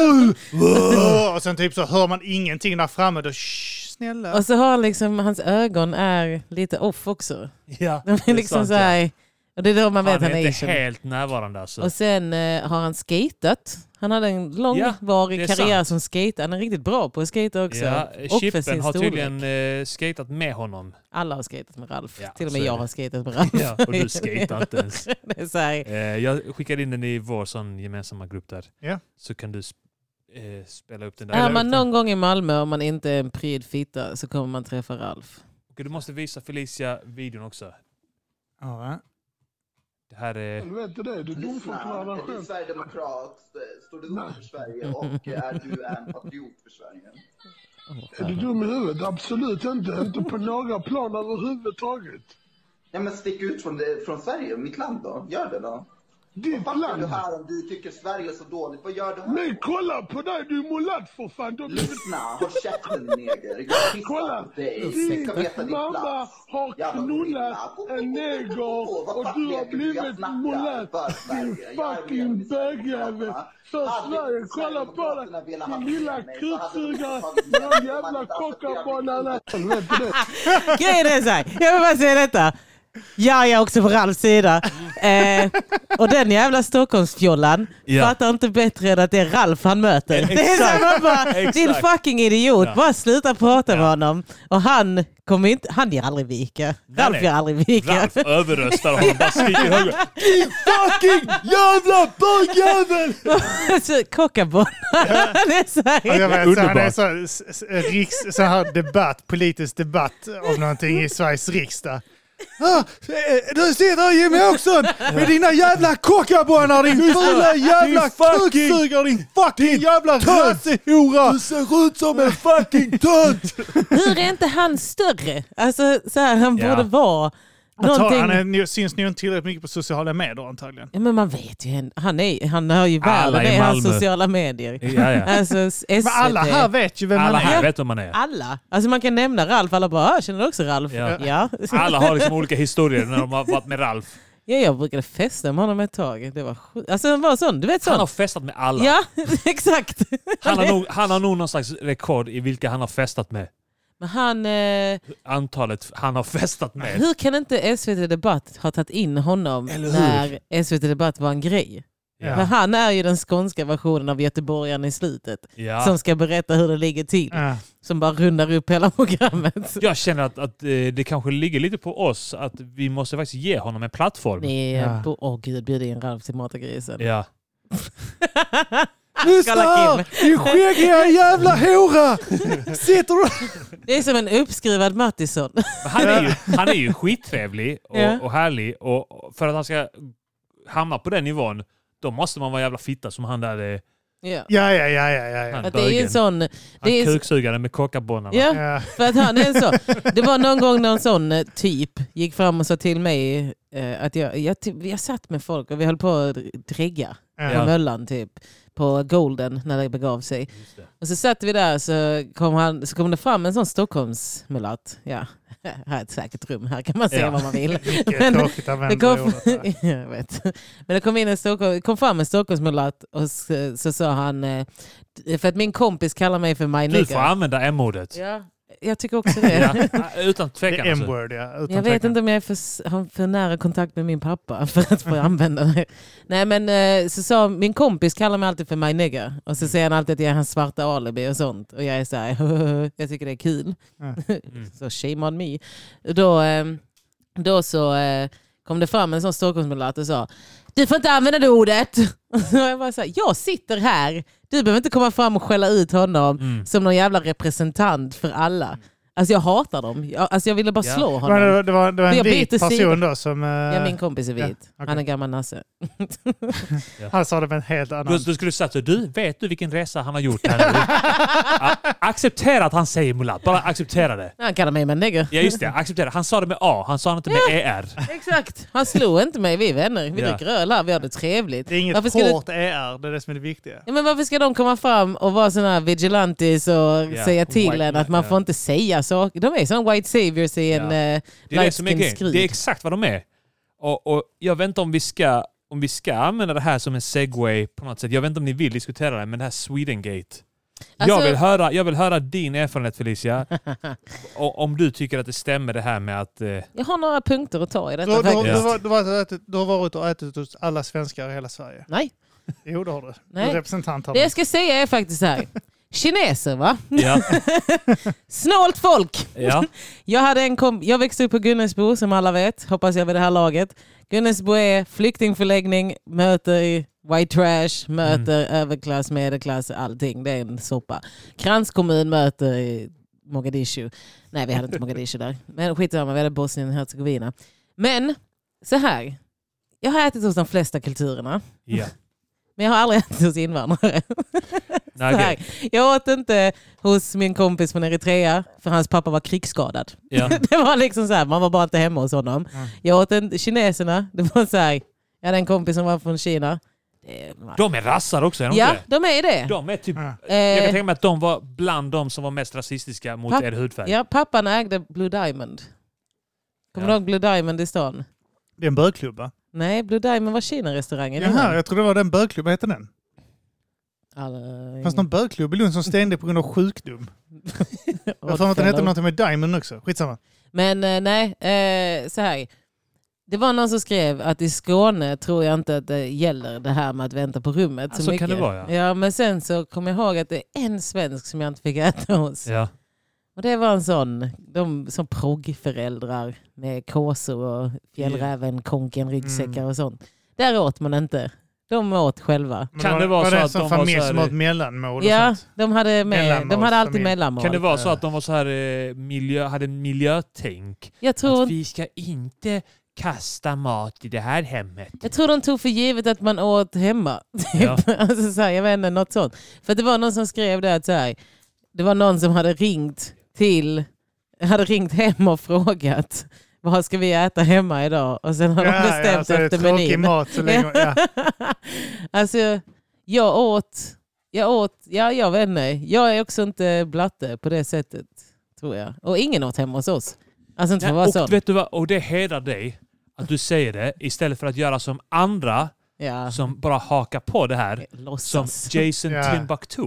Speaker 2: en öl! och sen typ så hör man ingenting där framme. Då, "Shh, snälla.
Speaker 1: och så har han liksom, hans ögon är lite off också.
Speaker 3: Ja,
Speaker 1: De är liksom
Speaker 3: sant,
Speaker 1: så här, Och det är då man vet
Speaker 3: Han
Speaker 1: att han
Speaker 3: är
Speaker 1: är
Speaker 3: inte
Speaker 1: asian.
Speaker 3: helt närvarande alltså.
Speaker 1: Och sen eh, har han skatat. Han hade en långvarig
Speaker 3: det är
Speaker 1: karriär
Speaker 3: sant.
Speaker 1: som skater. Han är riktigt bra på att skata också.
Speaker 3: Ja,
Speaker 1: och för
Speaker 3: Chippen
Speaker 1: sin
Speaker 3: har
Speaker 1: storlek.
Speaker 3: tydligen eh, skatat
Speaker 1: <laughs>
Speaker 3: med honom.
Speaker 1: Alla har skatat med Ralf.
Speaker 3: Ja,
Speaker 1: Till och
Speaker 3: så
Speaker 1: med
Speaker 3: är
Speaker 1: jag
Speaker 3: det.
Speaker 1: har skatat med Ralf.
Speaker 3: Ja, och du skatar inte
Speaker 1: <laughs>
Speaker 3: ens.
Speaker 1: det är så här,
Speaker 3: Eh, jag skickade in den i vår sån gemensamma grupp där.
Speaker 2: Ja.
Speaker 3: Så kan du sp- eh, spela upp den där.
Speaker 1: är man
Speaker 3: Okej,
Speaker 1: någon gång i Malmö om man inte är en pryd fitta så kommer man träffa Ralf.
Speaker 3: Du måste visa Felicia videon också.
Speaker 2: Ja,
Speaker 3: Det här är...
Speaker 4: Helvete det, du dumförklarar dig
Speaker 5: Lyssna,
Speaker 4: själv.
Speaker 5: du är sverigedemokrat, stod för Sverige och är du en patriot för Sverige?
Speaker 4: Är du dum i huvudet? Absolut inte. Inte på några plan överhuvudtaget.
Speaker 5: Ja men stick ut från, det, från Sverige, mitt land då. Gör det då.
Speaker 4: Ditt
Speaker 5: Varför är du
Speaker 4: land.
Speaker 5: här om du tycker Sverige är så dåligt? Vad gör du här?
Speaker 4: Men kolla på dig, du är mulatt för fan. De <laughs>
Speaker 5: Lyssna, håll käften neger. Jag pissar
Speaker 4: Kolla!
Speaker 5: på dig. Du
Speaker 4: Din
Speaker 5: ska veta din
Speaker 4: mamma
Speaker 5: plats.
Speaker 4: har
Speaker 5: Jävla
Speaker 4: knullat
Speaker 5: gorilla.
Speaker 4: en neger
Speaker 5: Åh, vad
Speaker 4: och
Speaker 5: fuck
Speaker 4: du har
Speaker 5: leker du? Jag
Speaker 4: blivit
Speaker 5: snackar
Speaker 4: mulatt.
Speaker 5: för
Speaker 4: Din
Speaker 5: Sverige. Jag är
Speaker 4: fucking
Speaker 5: med.
Speaker 4: bögjävel. För
Speaker 5: Hade
Speaker 4: Sverige, kolla på
Speaker 5: Sverigedemokraterna
Speaker 4: dig.
Speaker 5: velat ha
Speaker 4: Din lilla
Speaker 5: med mig så hade de
Speaker 4: krutsugare.
Speaker 5: tagit med mig.
Speaker 4: Någon jävla
Speaker 5: Man
Speaker 4: kockabollare.
Speaker 1: Grejen är så här, jag vill bara säga detta. Ja, jag är också på Ralfs sida. Eh, och den jävla Stockholmsfjollan
Speaker 3: Ja.
Speaker 1: fattar inte bättre än att det är Ralf han möter.
Speaker 3: Eh,
Speaker 1: Det är så här, man bara,
Speaker 3: Exakt.
Speaker 1: din fucking idiot,
Speaker 3: Ja.
Speaker 1: bara sluta prata
Speaker 3: Ja.
Speaker 1: med honom. Och han kommer inte, han ger aldrig vika. Ralf
Speaker 3: nej.
Speaker 1: ger aldrig vika. <laughs>
Speaker 3: Ralf överröstar honom. Bara skriker högre.
Speaker 2: <laughs>
Speaker 3: Din fucking jävla bögjävel!
Speaker 1: Alltså, Kockaboll. <laughs> det är så
Speaker 2: Ja,
Speaker 1: här.
Speaker 2: jag vet, så han är
Speaker 3: Underbart.
Speaker 2: så, här, s- s- riks, så här debatt, politisk debatt om någonting i Sveriges riksdag. Ah, eh, du sitter här Jimmy Åkesson med dina jävla kockabonnar, din fula jävla
Speaker 3: Din fucking-
Speaker 2: kuksugare, din fucking jävla
Speaker 3: tönt.
Speaker 2: rassehora!
Speaker 3: Du ser ut som en fucking tönt!
Speaker 1: Hur är inte han större? Alltså, så här, han
Speaker 3: Ja.
Speaker 1: borde vara
Speaker 2: Han tar-
Speaker 1: någonting.
Speaker 2: Han är, nu- syns nu inte tillräckligt mycket på sociala medier antagligen.
Speaker 1: Ja, men man vet ju, henne. han är, han har ju
Speaker 3: Alla
Speaker 1: världen
Speaker 3: i
Speaker 1: i hans
Speaker 3: Malmö.
Speaker 1: sociala medier.
Speaker 3: Ja, ja.
Speaker 1: <laughs> Alltså SVT.
Speaker 2: Men alla här vet ju vem
Speaker 3: Alla
Speaker 2: han är.
Speaker 3: här vet vem man är.
Speaker 1: Alla. Alltså man kan nämna Ralf, alla bara "Ah, “känner du också Ralf?”
Speaker 3: Ja.
Speaker 1: ja. Ja.
Speaker 3: <laughs> Alla har
Speaker 2: <laughs>
Speaker 3: liksom olika historier när de har varit med Ralf.
Speaker 1: ja, jag brukade festa med honom ett tag. Det var sjukt. Alltså han var sån, du vet
Speaker 3: Han har
Speaker 1: sån.
Speaker 3: festat med alla.
Speaker 1: Ja, <laughs> exakt.
Speaker 3: Han, har nog, han har nog någon slags rekord i vilka han har festat med.
Speaker 1: Men han, eh,
Speaker 3: Antalet han har
Speaker 2: <laughs>
Speaker 3: festat med.
Speaker 1: hur kan inte SVT Debatt ha tagit in honom
Speaker 3: Eller hur?
Speaker 1: när SVT Debatt var en grej?
Speaker 3: Ja.
Speaker 1: För han är ju den skånska versionen av göteborgaren i slutet.
Speaker 3: Ja.
Speaker 1: Som ska berätta hur det ligger till.
Speaker 2: Ja.
Speaker 1: Som bara rundar upp hela <laughs> programmet.
Speaker 3: <laughs> Jag känner att, att eh, det kanske ligger lite på oss att vi måste faktiskt ge honom en plattform.
Speaker 1: Ni,
Speaker 2: Ja.
Speaker 1: eh, bo- Åh gud, bjud in Ralf till Matagrisen. <laughs>
Speaker 3: Ja.
Speaker 1: Ah,
Speaker 2: Lyssna
Speaker 1: Kolla
Speaker 2: här, din skäggiga jävla
Speaker 3: <laughs>
Speaker 2: hora! Sitter du...
Speaker 1: Det är som en uppskruvad Mattisson. <laughs>
Speaker 3: Men Han, är ju, han är ju skittrevlig och,
Speaker 1: Ja.
Speaker 3: och härlig och och för att han ska hamna på den nivån då måste man vara jävla fitta som han där eh,
Speaker 1: ja.
Speaker 2: Ja, ja, ja, ja, ja. ja.
Speaker 3: Han
Speaker 1: Att det är ju
Speaker 3: bögen.
Speaker 1: en sån...
Speaker 3: han
Speaker 1: Det är,
Speaker 3: kuksugaren med kockabonnarna.
Speaker 1: ja,
Speaker 2: ja.
Speaker 1: för att han är en sån. Det var någon gång när en sån eh, typ gick fram och sa till mig eh, att jag, jag, typ- jag satt med folk och vi höll på att dregga på
Speaker 3: Ja.
Speaker 1: Möllan typ. På Golden när det begav sig.
Speaker 3: Just det.
Speaker 1: Och så satt vi där så kom, han, så kom det fram en sån Stockholmsmulatt. Ja, <laughs> här är ett säkert rum, här kan man säga
Speaker 3: Ja.
Speaker 1: vad man vill.
Speaker 2: Vilket tråkigt
Speaker 1: Det
Speaker 2: använda
Speaker 1: kom,
Speaker 2: ordet. där.
Speaker 1: <laughs> jag vet. Men det kom, in en Stockholm, kom fram en Stockholmsmulatt och så, så sa han, eh, för att min kompis kallar mig för my
Speaker 3: Du får
Speaker 1: nigger.
Speaker 3: använda M-ordet.
Speaker 1: Ja, jag tycker också det.
Speaker 3: Ja, Ah, utan
Speaker 2: Det
Speaker 3: tvekan.
Speaker 2: är
Speaker 3: Alltså.
Speaker 2: M-word, ja. Utan
Speaker 1: Jag vet
Speaker 2: tvekan.
Speaker 1: inte om jag är för, s- har för nära kontakt med min pappa <laughs> för att få använda det. Nej men eh, så sa min kompis kallar mig alltid för my nigger. Och
Speaker 2: Mm.
Speaker 1: så säger han alltid att jag är hans svarta alibi och sånt. Och jag är så här, <laughs> jag tycker det är kul. <laughs> så shame on me. Då, eh, då så eh, kom det fram en sån Stockholmsmulatt och sa du får inte använda det ordet. <laughs> Och jag bara så här, jag sitter här. Du behöver inte komma fram och skälla ut honom som någon jävla representant för alla. Alltså jag hatar dem. Jag, alltså jag ville bara
Speaker 3: Ja.
Speaker 1: slå honom.
Speaker 2: Men det var, det var, det var
Speaker 1: Men
Speaker 2: en
Speaker 1: jag
Speaker 2: vit
Speaker 1: byter
Speaker 2: person
Speaker 1: sida.
Speaker 2: då som... eh,
Speaker 1: Ja, min kompis är vit.
Speaker 2: ja, okej.
Speaker 1: Han är gammal nasse.
Speaker 2: Han sa det med en helt annan...
Speaker 3: Du, du skulle sagt så, du vet du vilken resa han har gjort här nu? A- acceptera att han säger mulatt, bara acceptera det.
Speaker 1: Han kallar mig men nigger.
Speaker 3: Ja just det, acceptera. Han sa det med A, han sa det inte med E ER.
Speaker 1: Exakt. Han slog inte mig. Vi är vänner. Vi
Speaker 3: Ja.
Speaker 1: dricker öl här. Vi har det trevligt.
Speaker 2: Det är inget
Speaker 1: varför ska du-
Speaker 2: hårt ER, det är det som är det viktiga.
Speaker 1: Ja, men varför ska de komma fram och vara sådana här vigilantes och säga till
Speaker 3: white
Speaker 1: en att man
Speaker 3: man,
Speaker 1: får inte säga saker? De är som white saviors i en eh,
Speaker 3: Ja.
Speaker 1: yeah.
Speaker 3: Det är det som är
Speaker 1: light
Speaker 3: grejen. Det är
Speaker 1: skin
Speaker 3: exakt vad de är. Och, och jag vet inte om vi, ska, om vi ska använda det här som en segway på något sätt. Jag vet inte om ni vill diskutera det, men det här Swedengate.
Speaker 1: Alltså-
Speaker 3: jag, vill höra, jag vill höra din erfarenhet Felicia. <laughs> O- Om du tycker att det stämmer det här
Speaker 1: <laughs>
Speaker 3: med att... Eh,
Speaker 1: Jag har några punkter att ta i
Speaker 2: Du, har-
Speaker 1: detta
Speaker 2: du, har- du,
Speaker 1: faktiskt.
Speaker 2: har- du, har varit och ätit- du har varit och ätit hos alla svenskar i hela Sverige.
Speaker 1: Nej,
Speaker 2: Jo, det har du. Du
Speaker 1: Nej.
Speaker 2: är representant här.
Speaker 1: det
Speaker 2: nu.
Speaker 1: jag ska säga är faktiskt så här. Kineser va?
Speaker 3: ja,
Speaker 1: Snålt folk!
Speaker 3: ja,
Speaker 1: Jag, hade en komp- jag växte upp på Gunnesbo som alla vet, hoppas jag vid det här laget. Gunnesbo är flyktingförläggning, möter i white trash, möter överklass, medelklass, allting. Det är en soppa. Kranskommun möter i Mogadishu. Nej, vi hade inte Mogadishu där. Men skitsamma, vi hade Bosnien och Herzegovina. Men så här, jag har ätit hos de flesta kulturerna.
Speaker 3: ja.
Speaker 1: Men jag har aldrig <laughs> ätit hos invandrare.
Speaker 3: Nej,
Speaker 1: <laughs> Så
Speaker 3: okej.
Speaker 1: här. Jag åt inte hos min kompis från Eritrea för hans pappa var krigsskadad.
Speaker 3: Ja.
Speaker 1: <laughs> Det var liksom så här, man var bara inte hemma hos honom. Jag åt en, kineserna, det var så här, jag hade en kompis som var från Kina. Det var-
Speaker 3: De är rassar också, är de
Speaker 1: ja,
Speaker 3: inte det?
Speaker 1: de är det.
Speaker 3: De är typ...
Speaker 2: Ja.
Speaker 3: Jag kan
Speaker 1: Eh,
Speaker 3: tänka mig att de var bland de som var mest rasistiska mot
Speaker 1: Papp-
Speaker 3: er hudfärg.
Speaker 1: ja, pappan ägde Blue Diamond. Kommer
Speaker 3: Ja.
Speaker 1: du ihåg Blue Diamond i stan?
Speaker 2: Det är en bögklubb, va?
Speaker 1: Nej, Blue Diamond var Kina-restaurangen.
Speaker 2: Jaha, jag trodde det var den bögklubben. Vad heter den?
Speaker 1: Alla-
Speaker 2: Fanns det någon bögklubb i Lund som stängde på grund av sjukdom? Jag har för mig att den hette något med Diamond också. Skitsamma.
Speaker 1: Men eh, nej, eh, så här. Det var någon som skrev att i Skåne tror jag inte att det gäller det här med att vänta på rummet.
Speaker 3: Ja, så kan
Speaker 1: mycket.
Speaker 3: det vara, ja.
Speaker 1: men sen så kom jag ihåg att det är en svensk som jag inte fick äta hos.
Speaker 3: Ja.
Speaker 1: Och det var en sån, de som proggföräldrar med kåsor och fjällräven, konken, ryggsäckar
Speaker 3: Mm.
Speaker 1: och sånt. Där åt man inte. De åt själva.
Speaker 2: Men
Speaker 3: Kan det vara
Speaker 2: var
Speaker 3: så
Speaker 2: det
Speaker 3: att
Speaker 2: som
Speaker 3: de var
Speaker 2: familj
Speaker 3: så här-
Speaker 2: som har ett mellanmål och
Speaker 1: Ja,
Speaker 2: sånt?
Speaker 1: de hade, med, de hade alltid
Speaker 2: Mellanmålsfamilj.
Speaker 1: mellanmål.
Speaker 3: Kan det vara så att de var så här, eh, miljö, hade en miljötänk?
Speaker 1: jag tror
Speaker 3: Att vi ska inte kasta mat i det här hemmet.
Speaker 1: Jag tror de tog för givet att man åt hemma. Typ.
Speaker 3: Ja.
Speaker 1: <laughs> Alltså så här, jag vet inte, något sånt. För att det var någon som skrev det att så här, det var någon som hade ringt till hade ringt hem och frågat vad ska vi äta hemma idag? Och sen har de
Speaker 2: ja,
Speaker 1: bestämt
Speaker 2: så är det
Speaker 1: efter
Speaker 2: tråkig
Speaker 1: menyn.
Speaker 2: mat så
Speaker 1: <laughs>
Speaker 2: länge. Ja.
Speaker 1: alltså, jag åt, jag åt, ja jag vet inte. Jag är också inte blatte på det sättet, tror jag. Och ingen åt hemma hos oss. Alltså inte för att vara
Speaker 3: Nej,
Speaker 1: sån.
Speaker 3: och, vet du vad? och det hedrar dig att du säger det istället för att göra som andra
Speaker 1: Ja,
Speaker 3: som bara hakar på det här. Som
Speaker 1: låtsas.
Speaker 3: Jason
Speaker 2: Ja.
Speaker 3: Timbuktu.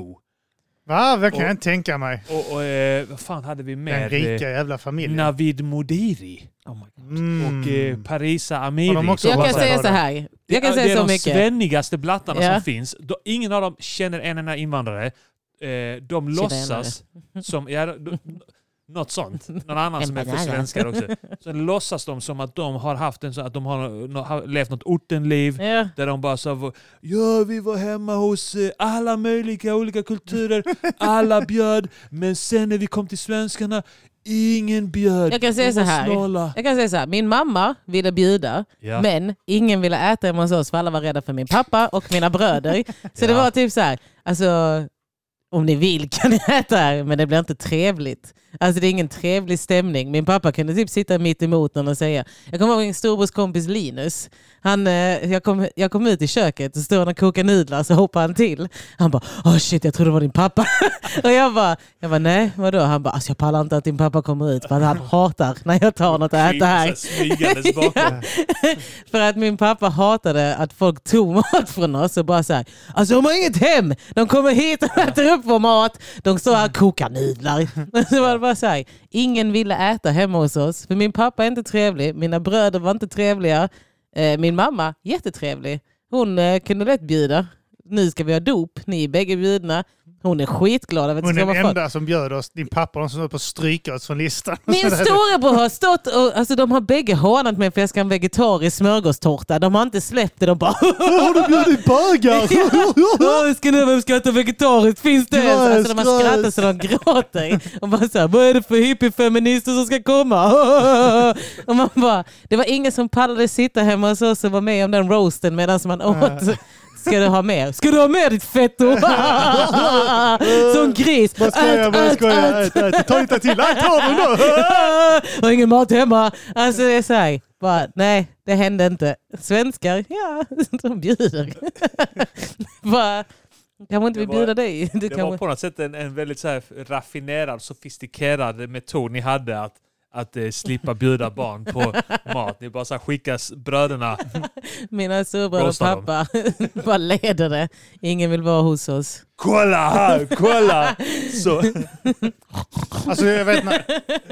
Speaker 2: Va? Det kan
Speaker 3: Och-
Speaker 2: jag inte tänka mig.
Speaker 3: Och, och eh, vad fan hade vi
Speaker 2: Den
Speaker 3: med?
Speaker 2: rika jävla
Speaker 3: Eh,
Speaker 2: familjen.
Speaker 3: Navid Modiri.
Speaker 1: Oh
Speaker 2: Mm.
Speaker 3: Och eh, Parisa Amiri.
Speaker 2: Har de också
Speaker 1: Jag
Speaker 2: Vad
Speaker 1: kan
Speaker 2: sa
Speaker 1: säga
Speaker 2: du?
Speaker 1: så här.
Speaker 3: Det
Speaker 1: Jag kan
Speaker 3: är-
Speaker 1: säga så
Speaker 3: Det är de
Speaker 1: mycket.
Speaker 3: svennigaste blattarna
Speaker 1: Ja.
Speaker 3: som finns. Då, ingen av dem känner en enda invandrare. Eh, de låtsas som... Ja, de,
Speaker 1: <laughs>
Speaker 3: de- något sånt. Någon annan
Speaker 1: En
Speaker 3: som är för
Speaker 1: banan.
Speaker 3: svenskar också. Sen låtsas de som att de har haft en så att de har, nå- har levt något ortenliv.
Speaker 1: Ja.
Speaker 3: Där de bara så här, ja vi var hemma hos eh, alla möjliga olika kulturer, alla bjöd, men sen när vi kom till svenskarna, ingen bjöd.
Speaker 1: Jag kan säga
Speaker 3: De var
Speaker 1: så här.
Speaker 3: Snåla.
Speaker 1: Jag kan säga så här, min mamma ville bjuda,
Speaker 3: Ja.
Speaker 1: men ingen ville äta hemma hos oss för alla var rädda för min pappa och mina bröder. Så det
Speaker 3: Ja.
Speaker 1: var typ så här, alltså om ni vill kan ni äta här, men det blir inte trevligt. Alltså det är ingen trevlig stämning. Min pappa kunde typ sitta mitt emot någon och säga, jag kommer ihåg min storbrors kompis Linus, han, eh, jag, kom, jag kom ut i köket och stod han och kokade nudlar så hoppade han till. Han bara, oh shit jag trodde det var din pappa. <laughs> Och jag bara, jag bara nej vadå? Han bara, alltså jag pallar inte att din pappa kommer ut för att han hatar när jag tar något att äta här.
Speaker 3: Smygandes bakom.
Speaker 1: <laughs> För att min pappa hatade att folk tog mat från oss och bara såhär, alltså de har inget hem! De kommer hit och äter upp vår mat. De står här och kokar nudlar. <laughs> Så var det bara såhär, ingen ville äta hemma hos oss. För min pappa är inte trevlig, mina bröder var inte trevliga. Eh, Min mamma, jättetrevlig. Hon eh, kunde lätt bjuda. Nu ska vi ha dop, ni är bägge bjudna. Hon är skitglad över att det
Speaker 2: Hon
Speaker 1: ska
Speaker 2: är den
Speaker 1: vara folk.
Speaker 2: enda som bjöd oss, din pappa, de som höll på att stryka oss från listan. <laughs>
Speaker 1: Min storebror har stått och alltså, de har bägge hånat mig för jag ska ha en vegetarisk smörgåstårta. De har inte släppt det. De bara <laughs>
Speaker 2: Har du bjudit <laughs> bögar?
Speaker 1: Åh, ska ni, vem ska äta vegetariskt? Finns det ens? Alltså, de har skrattat så de gråter. Och bara så här, vad är det för hippiefeminister som ska komma? <laughs> Och man bara, det var ingen som pallade sitta hemma hos oss och vara med om den roasten medan man åt. Ska du ha mer? Ska du ha mer
Speaker 2: <laughs>
Speaker 1: ditt fetto? Som gris.
Speaker 2: Vad skojar,
Speaker 1: Ät,
Speaker 2: vad
Speaker 1: ät,
Speaker 2: skojar.
Speaker 1: ät.
Speaker 2: Ät, ät. Ta lite till. Ät, ta den
Speaker 1: <laughs>
Speaker 2: då.
Speaker 1: Jag har ingen mat hemma. Alltså det är så här, bara, nej det hände inte. Svenskar, ja, <laughs> de bjuder. <laughs> bara, kanske inte
Speaker 3: Det
Speaker 1: vill
Speaker 3: var-
Speaker 1: bjuda dig. Du
Speaker 3: Det var
Speaker 1: kanske,
Speaker 3: på något sätt en, en väldigt så här raffinerad, sofistikerad metod ni hade. att att eh, slippa bjuda
Speaker 2: <laughs>
Speaker 3: barn på mat. Ni bara så här skickas bröderna.
Speaker 1: Mina surbröder och
Speaker 3: Rosta dem.
Speaker 1: pappa <laughs> bara leder det. Ingen vill vara hos oss.
Speaker 3: Kolla här, kolla!
Speaker 2: <laughs>
Speaker 3: Så,
Speaker 2: Alltså jag vet när,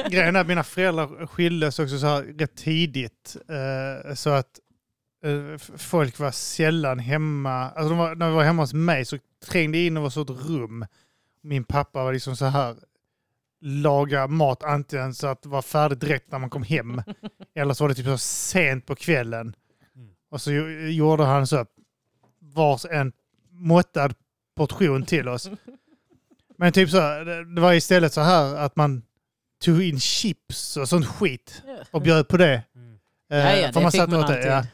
Speaker 2: grejen är att mina föräldrar skildes också så här rätt tidigt. Eh, så att eh, f- folk var sällan hemma. Alltså de var, när de var hemma hos mig så trängde jag in och var så ett rum. Min pappa var liksom så här laga mat antingen så att det var färdigt direkt när man kom hem. Eller så var det typ så sent på kvällen.
Speaker 3: Mm.
Speaker 2: Och så gjo- gjorde han så här vars en måttad portion till oss. Men typ så, här, det- det var istället så här att man tog in chips och sånt skit och bjöd på det.
Speaker 3: Mm.
Speaker 2: Eh,
Speaker 1: Ja, ja,
Speaker 2: för
Speaker 1: det
Speaker 2: man
Speaker 1: fick
Speaker 2: satt
Speaker 1: man
Speaker 2: åt det,
Speaker 1: alltid.
Speaker 2: ja.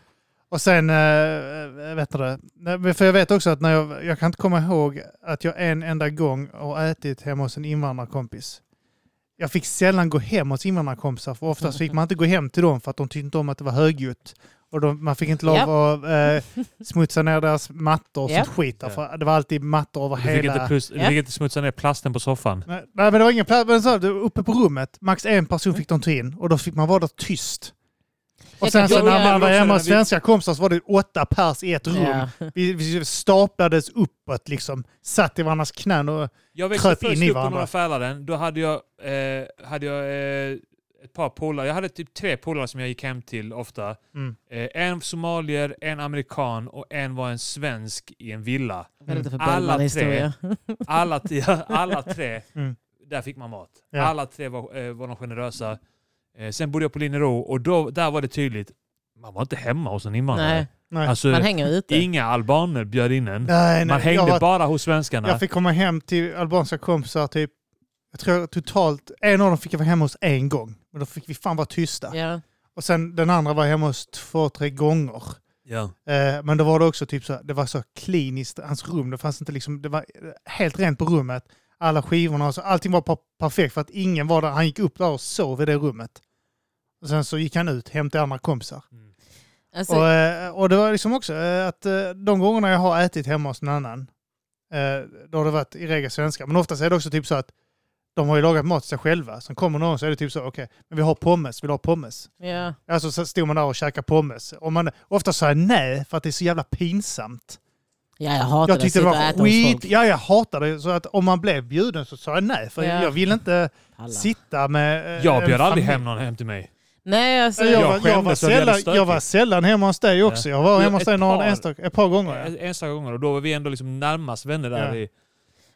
Speaker 2: Och sen, äh, vet du det? Nej, men För jag vet också att när jag, jag kan inte komma ihåg att jag en enda gång har ätit hemma hos en invandrarkompis. Jag fick sällan gå hem hos invandrarkompisar för oftast fick man inte gå hem till dem för att de tyckte inte om att det var högljutt. Och de, man fick inte lov
Speaker 1: Japp.
Speaker 2: att eh, smutsa ner deras mattor och
Speaker 1: Japp.
Speaker 2: sånt skit. Därför, det var alltid mattor över
Speaker 3: du, fick
Speaker 2: hela...
Speaker 3: inte plus, du fick inte smutsa ner plasten på soffan.
Speaker 2: Nej, nej, men det var ingen plats. Men så, här, det var uppe på rummet, max en
Speaker 3: Mm.
Speaker 2: person fick de ta in och då fick man vara där tyst. Och
Speaker 1: Jag
Speaker 2: sen
Speaker 1: kan-
Speaker 2: så
Speaker 1: jag-
Speaker 2: när
Speaker 1: jag-
Speaker 2: man var
Speaker 3: jag-
Speaker 2: hemma
Speaker 3: jag-
Speaker 2: hos svenska kompisar så var det åtta pers i ett rum.
Speaker 1: Ja.
Speaker 2: Vi, vi staplades uppåt liksom, satt i varandras knän och
Speaker 3: Jag växte
Speaker 2: Kröp in
Speaker 3: först
Speaker 2: i
Speaker 3: upp på
Speaker 2: varandra.
Speaker 3: Norra Fälaren. Då hade jag, eh, hade jag eh, ett par polare. Jag hade typ tre polare som jag gick hem till ofta.
Speaker 2: Mm.
Speaker 3: Eh, en somalier, en amerikan och en var en svensk i en villa.
Speaker 1: Vad är det för
Speaker 3: Alla
Speaker 1: Bellman-historia?
Speaker 3: Alla, t- <laughs> alla tre,
Speaker 2: Mm.
Speaker 3: där fick man mat.
Speaker 2: Ja.
Speaker 3: Alla tre var, eh, var de generösa. Eh, sen bodde jag på Linnero och då, där var det tydligt. Man var inte hemma hos en invandrare.
Speaker 1: Nej,
Speaker 2: nej.
Speaker 3: Alltså,
Speaker 1: man hänger ute.
Speaker 3: inga albaner bjöd in en.
Speaker 2: nej, nej.
Speaker 3: Man hängde
Speaker 2: jag, var,
Speaker 3: bara hos svenskarna.
Speaker 2: jag fick komma hem till albanska kompisar typ, jag tror totalt, en av dem fick jag vara hemma hos en gång. Men då fick vi fan vara tysta.
Speaker 1: Ja.
Speaker 2: Och sen den andra var jag hemma hos två, tre gånger.
Speaker 3: Ja.
Speaker 2: Eh, Men då var det också typ så, det var så kliniskt, hans rum, det fanns inte liksom, det var helt rent på rummet. Alla skivorna, och så, allting var pa- perfekt för att ingen var där. Han gick upp där och sov i det rummet. Och sen så gick han ut hem till andra kompisar.
Speaker 1: Alltså,
Speaker 2: Och, eh, och det var liksom också eh, att eh, de gångerna jag har ätit hemma hos någon annan, eh, då har det varit i regel svenska. Men oftast är det också typ så att de har ju lagat mat till sig själva. Sen kommer någon så är det typ så, okej, men vi har pommes, vill du ha pommes?
Speaker 1: ja.
Speaker 2: Alltså så stod man där och käkade pommes. Och man ofta sa jag nej för att det är så jävla pinsamt.
Speaker 1: ja, jag hatar
Speaker 2: Jag tyckte det
Speaker 1: det att
Speaker 2: var
Speaker 1: sitta och äta hos
Speaker 2: skit.
Speaker 1: folk.
Speaker 2: Ja, jag hatade det. Så att om man blev bjuden så sa jag nej. För
Speaker 1: Ja.
Speaker 2: jag ville inte
Speaker 1: Pallar.
Speaker 2: sitta med eh,
Speaker 3: Jag
Speaker 2: en
Speaker 3: bjöd aldrig
Speaker 2: familj.
Speaker 3: hem någon hem till mig.
Speaker 1: Nej, alltså,
Speaker 2: Jag,
Speaker 3: Jag
Speaker 2: var, jag, var
Speaker 3: skämdes över att jag hade
Speaker 2: sällan,
Speaker 3: stökigt.
Speaker 2: jag var sällan hemma hos dig också. Jag var
Speaker 3: Ja,
Speaker 2: hemma hos
Speaker 3: ett
Speaker 2: dig någon
Speaker 3: par.
Speaker 2: enstaka, ett par gånger. Ja.
Speaker 3: En- Enstaka gånger och då var vi ändå liksom närmast vänner där.
Speaker 2: Ja.
Speaker 3: I,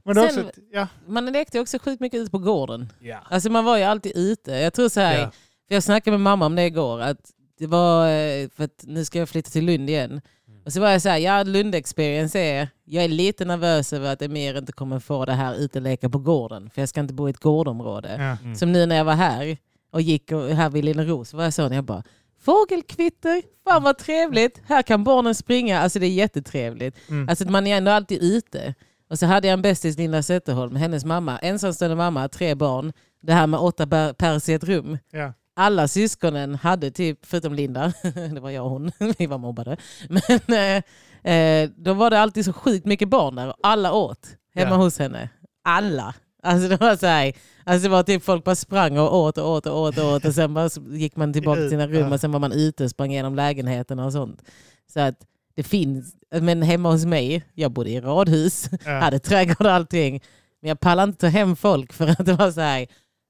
Speaker 2: Men det var
Speaker 1: Sen-
Speaker 2: också, ett- ja.
Speaker 1: man lekte också sjukt mycket ute på gården.
Speaker 3: ja.
Speaker 1: Alltså man var ju alltid ute. Jag tror så här,
Speaker 3: Ja.
Speaker 1: för jag snackade med mamma om det igår, att det var, eh, för att nu ska jag flytta till Lund igen.
Speaker 2: Mm.
Speaker 1: Och så var jag så här, ja Lund experience är, jag är lite nervös över att Emir inte kommer få det här uteleka på gården, för jag ska inte bo i ett gårdområde.
Speaker 2: Ja.
Speaker 3: Mm.
Speaker 1: Som nu när jag var här och gick och här vid Lilla Ros var jag sån, jag bara Fågelkvitter, fan vad trevligt, här kan barnen springa, alltså det är jättetrevligt.
Speaker 2: Mm.
Speaker 1: Alltså att man är ändå alltid ute. Och så hade jag en bästis, Linda Zetterholm, hennes mamma, ensamstående mamma, tre barn, det här med åtta bär- pers i ett rum.
Speaker 2: Ja.
Speaker 1: Alla syskonen hade typ, förutom Linda, <laughs> det var jag och hon, vi var mobbade. Men eh, eh, då var det alltid så sjukt mycket barn där och alla åt hemma
Speaker 2: Ja.
Speaker 1: hos henne. Alla. Alltså det var så här, Alltså det var typ folk bara sprang och åt och åt och åt och åt och sen bara så gick man tillbaka till sina rum och sen var man ute och sprang igenom lägenheterna och sånt. Så att det finns, men hemma hos mig, jag bodde i radhus,
Speaker 2: Ja.
Speaker 1: <laughs> hade trädgård och allting. Men jag pallade inte ta hem folk för att det var så här,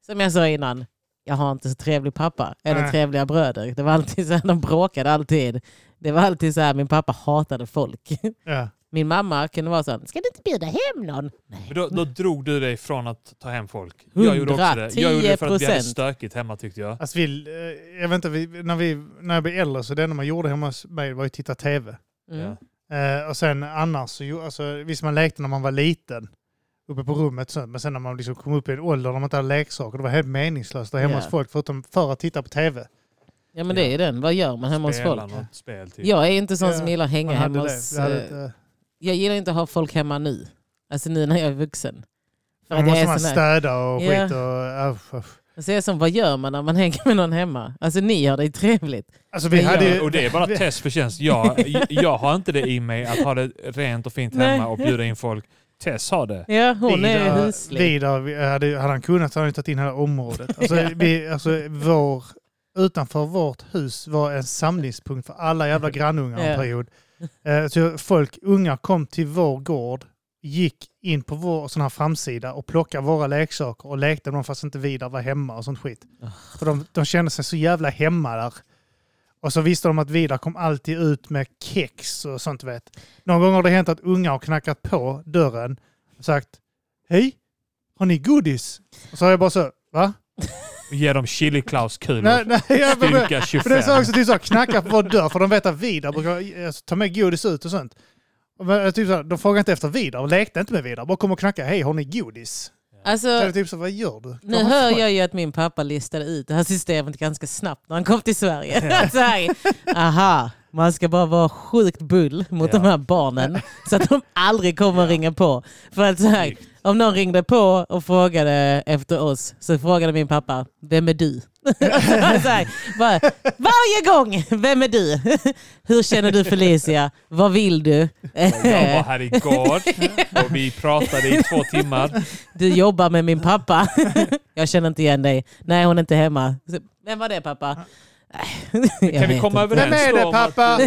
Speaker 1: som jag sa innan, jag har inte så trevlig pappa eller
Speaker 2: Nej.
Speaker 1: trevliga bröder. Det var alltid så här, de bråkade alltid. Det var alltid så här, min pappa hatade folk. <laughs>
Speaker 2: Ja.
Speaker 1: Min mamma kunde vara så här, ska du inte bjuda hem någon?
Speaker 3: Men då, då drog du dig från att ta hem folk. Jag gjorde också det. Jag gjorde det för att vi
Speaker 1: 110%.
Speaker 3: hade stökigt hemma tyckte jag.
Speaker 2: Alltså, vi, eh, jag vet inte, vi, när, vi, när jag blev äldre så det enda man gjorde hemma hos mig var ju att titta tv.
Speaker 1: Mm.
Speaker 3: Ja.
Speaker 2: Eh, och sen annars, så, ju- alltså, visst man lekte när man var liten uppe på rummet, så, men sen när man liksom kom upp i en ålder när man inte hade leksaker, det var helt meningslöst där hemma
Speaker 1: Ja.
Speaker 2: hos folk förutom för att titta på tv.
Speaker 1: Ja men det är ju den. Vad gör man hemma hos
Speaker 3: Spela
Speaker 1: folk?
Speaker 3: något spel typ.
Speaker 1: Jag är inte sån som
Speaker 2: Ja,
Speaker 1: gillar att hänga
Speaker 2: Man hade
Speaker 1: hemma
Speaker 2: det.
Speaker 1: hos...
Speaker 2: Vi hade
Speaker 1: eh,
Speaker 2: inte-
Speaker 1: Jag gillar inte att ha folk hemma nu. Alltså nu när jag är vuxen. För
Speaker 2: Då
Speaker 1: att jag
Speaker 2: måste
Speaker 1: är
Speaker 2: man
Speaker 1: sån här.
Speaker 2: städa och
Speaker 1: Ja.
Speaker 2: skit. Och, äh, usch, usch.
Speaker 1: Så Alltså, jag är som, vad gör man <laughs> när man hänger med någon hemma? Alltså ni har det ju trevligt.
Speaker 2: Alltså vi
Speaker 1: Men
Speaker 2: hade
Speaker 1: jag-
Speaker 2: ju...
Speaker 3: Och det är bara
Speaker 2: <laughs>
Speaker 3: ett test för tjänst. Jag, jag har inte det i mig att ha det rent och fint
Speaker 1: Nej.
Speaker 3: hemma och bjuda in folk. Tess har det.
Speaker 1: Ja, hon är huslig.
Speaker 2: Vidare, hade, hade han kunnat så hade han tagit in hela området. Alltså,
Speaker 1: <laughs> Ja.
Speaker 2: vi, alltså, vår, utanför vårt hus var en samlingspunkt för alla jävla grannungar en
Speaker 1: <laughs> Ja.
Speaker 2: period. Eh, Så folk, unga kom till vår gård, gick in på vår sån här framsida och plockade våra leksaker och lekte med dem fast inte vidare var hemma och sånt skit. För de, de kände sig så jävla hemma där. Och så visste de att Vidar kom alltid ut med kex och sånt vet. Någon gång har det hänt att unga har knackat på dörren och sagt Hej, har ni godis? Och så har jag bara så, va?
Speaker 3: Ge dem Chili Klaus-kulor.
Speaker 2: Nej, nej, jag bara,
Speaker 3: Styrka
Speaker 2: för det är
Speaker 3: 25.
Speaker 2: så också typ så här, knacka på vår dörr för de vet att Vidar brukar alltså, ta med godis ut och sånt. Och, men, typ så här, de frågar inte efter Vidar, och lekte inte med Vidar, bara kom och knacka, hej har ni godis? Så är
Speaker 1: Alltså,
Speaker 2: det typ så, vad gör du?
Speaker 1: nu hör jag ju att min pappa listade ut det här systemet ganska snabbt när han kom till Sverige. Så här, aha, man ska bara vara sjukt bull mot
Speaker 3: Ja.
Speaker 1: de här barnen så att de aldrig kommer ringa på. För att så här, om någon ringde på och frågade efter oss så frågade min pappa, vem är du? <laughs> så här, bara, varje gång, vem är du? <laughs> Hur känner du Felicia? Vad vill du?
Speaker 3: Jag var här
Speaker 2: <laughs>
Speaker 3: igår och vi pratade i två timmar.
Speaker 1: Du jobbar med min
Speaker 3: <laughs>
Speaker 1: pappa. Jag känner inte igen dig. Nej, hon är inte hemma. Så, Vem var det pappa?
Speaker 3: Kan vi komma
Speaker 2: Vem
Speaker 3: överens
Speaker 2: är
Speaker 3: då
Speaker 2: det
Speaker 3: om att-
Speaker 2: pappa?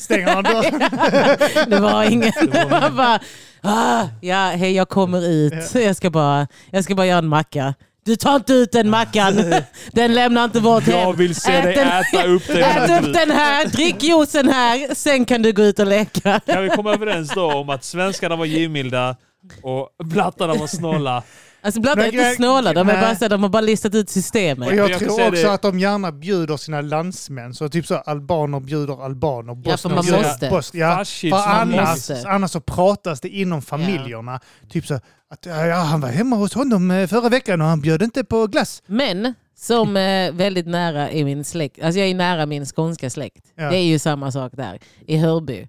Speaker 2: Stänger han dörren?
Speaker 1: <laughs> Det var ingen. <laughs> Man bara, ah, ja, hej jag kommer ut. Jag ska, bara, jag ska bara göra en macka. Du tar inte ut den mackan.
Speaker 3: <laughs>
Speaker 1: Den lämnar inte vårt
Speaker 3: Jag
Speaker 1: hem.
Speaker 3: vill se
Speaker 1: Ät
Speaker 3: dig
Speaker 1: den-
Speaker 3: äta upp den
Speaker 1: Ät upp
Speaker 3: här.
Speaker 1: den här, drick juicen här, sen kan du gå ut och leka.
Speaker 3: Kan vi komma överens då om att svenskarna var givmilda och blattarna var snåla?
Speaker 1: Alltså blattar är
Speaker 2: Men
Speaker 1: inte
Speaker 2: grej-
Speaker 1: snåla, de, är
Speaker 2: Nej.
Speaker 1: bara, så här, de har bara listat ut
Speaker 2: Och
Speaker 1: systemet.
Speaker 2: jag
Speaker 3: jag kan
Speaker 2: tror
Speaker 3: säga
Speaker 2: också
Speaker 3: det-
Speaker 2: att de gärna bjuder sina landsmän. Så typ så här, albaner bjuder albaner,
Speaker 1: Ja, för
Speaker 2: bosnier
Speaker 1: man
Speaker 2: bjuder
Speaker 1: måste.
Speaker 2: bosnier. Ja,
Speaker 3: Fascism,
Speaker 2: för
Speaker 3: man
Speaker 2: annars,
Speaker 1: måste.
Speaker 2: annars så pratas det inom familjerna. Typ så här, att ja, han var hemma hos honom eh, förra veckan och han bjöd inte på glass.
Speaker 1: Men som eh, väldigt nära i min släkt, alltså jag är nära min skånska släkt.
Speaker 2: Ja.
Speaker 1: Det är ju samma sak där, i Hörby.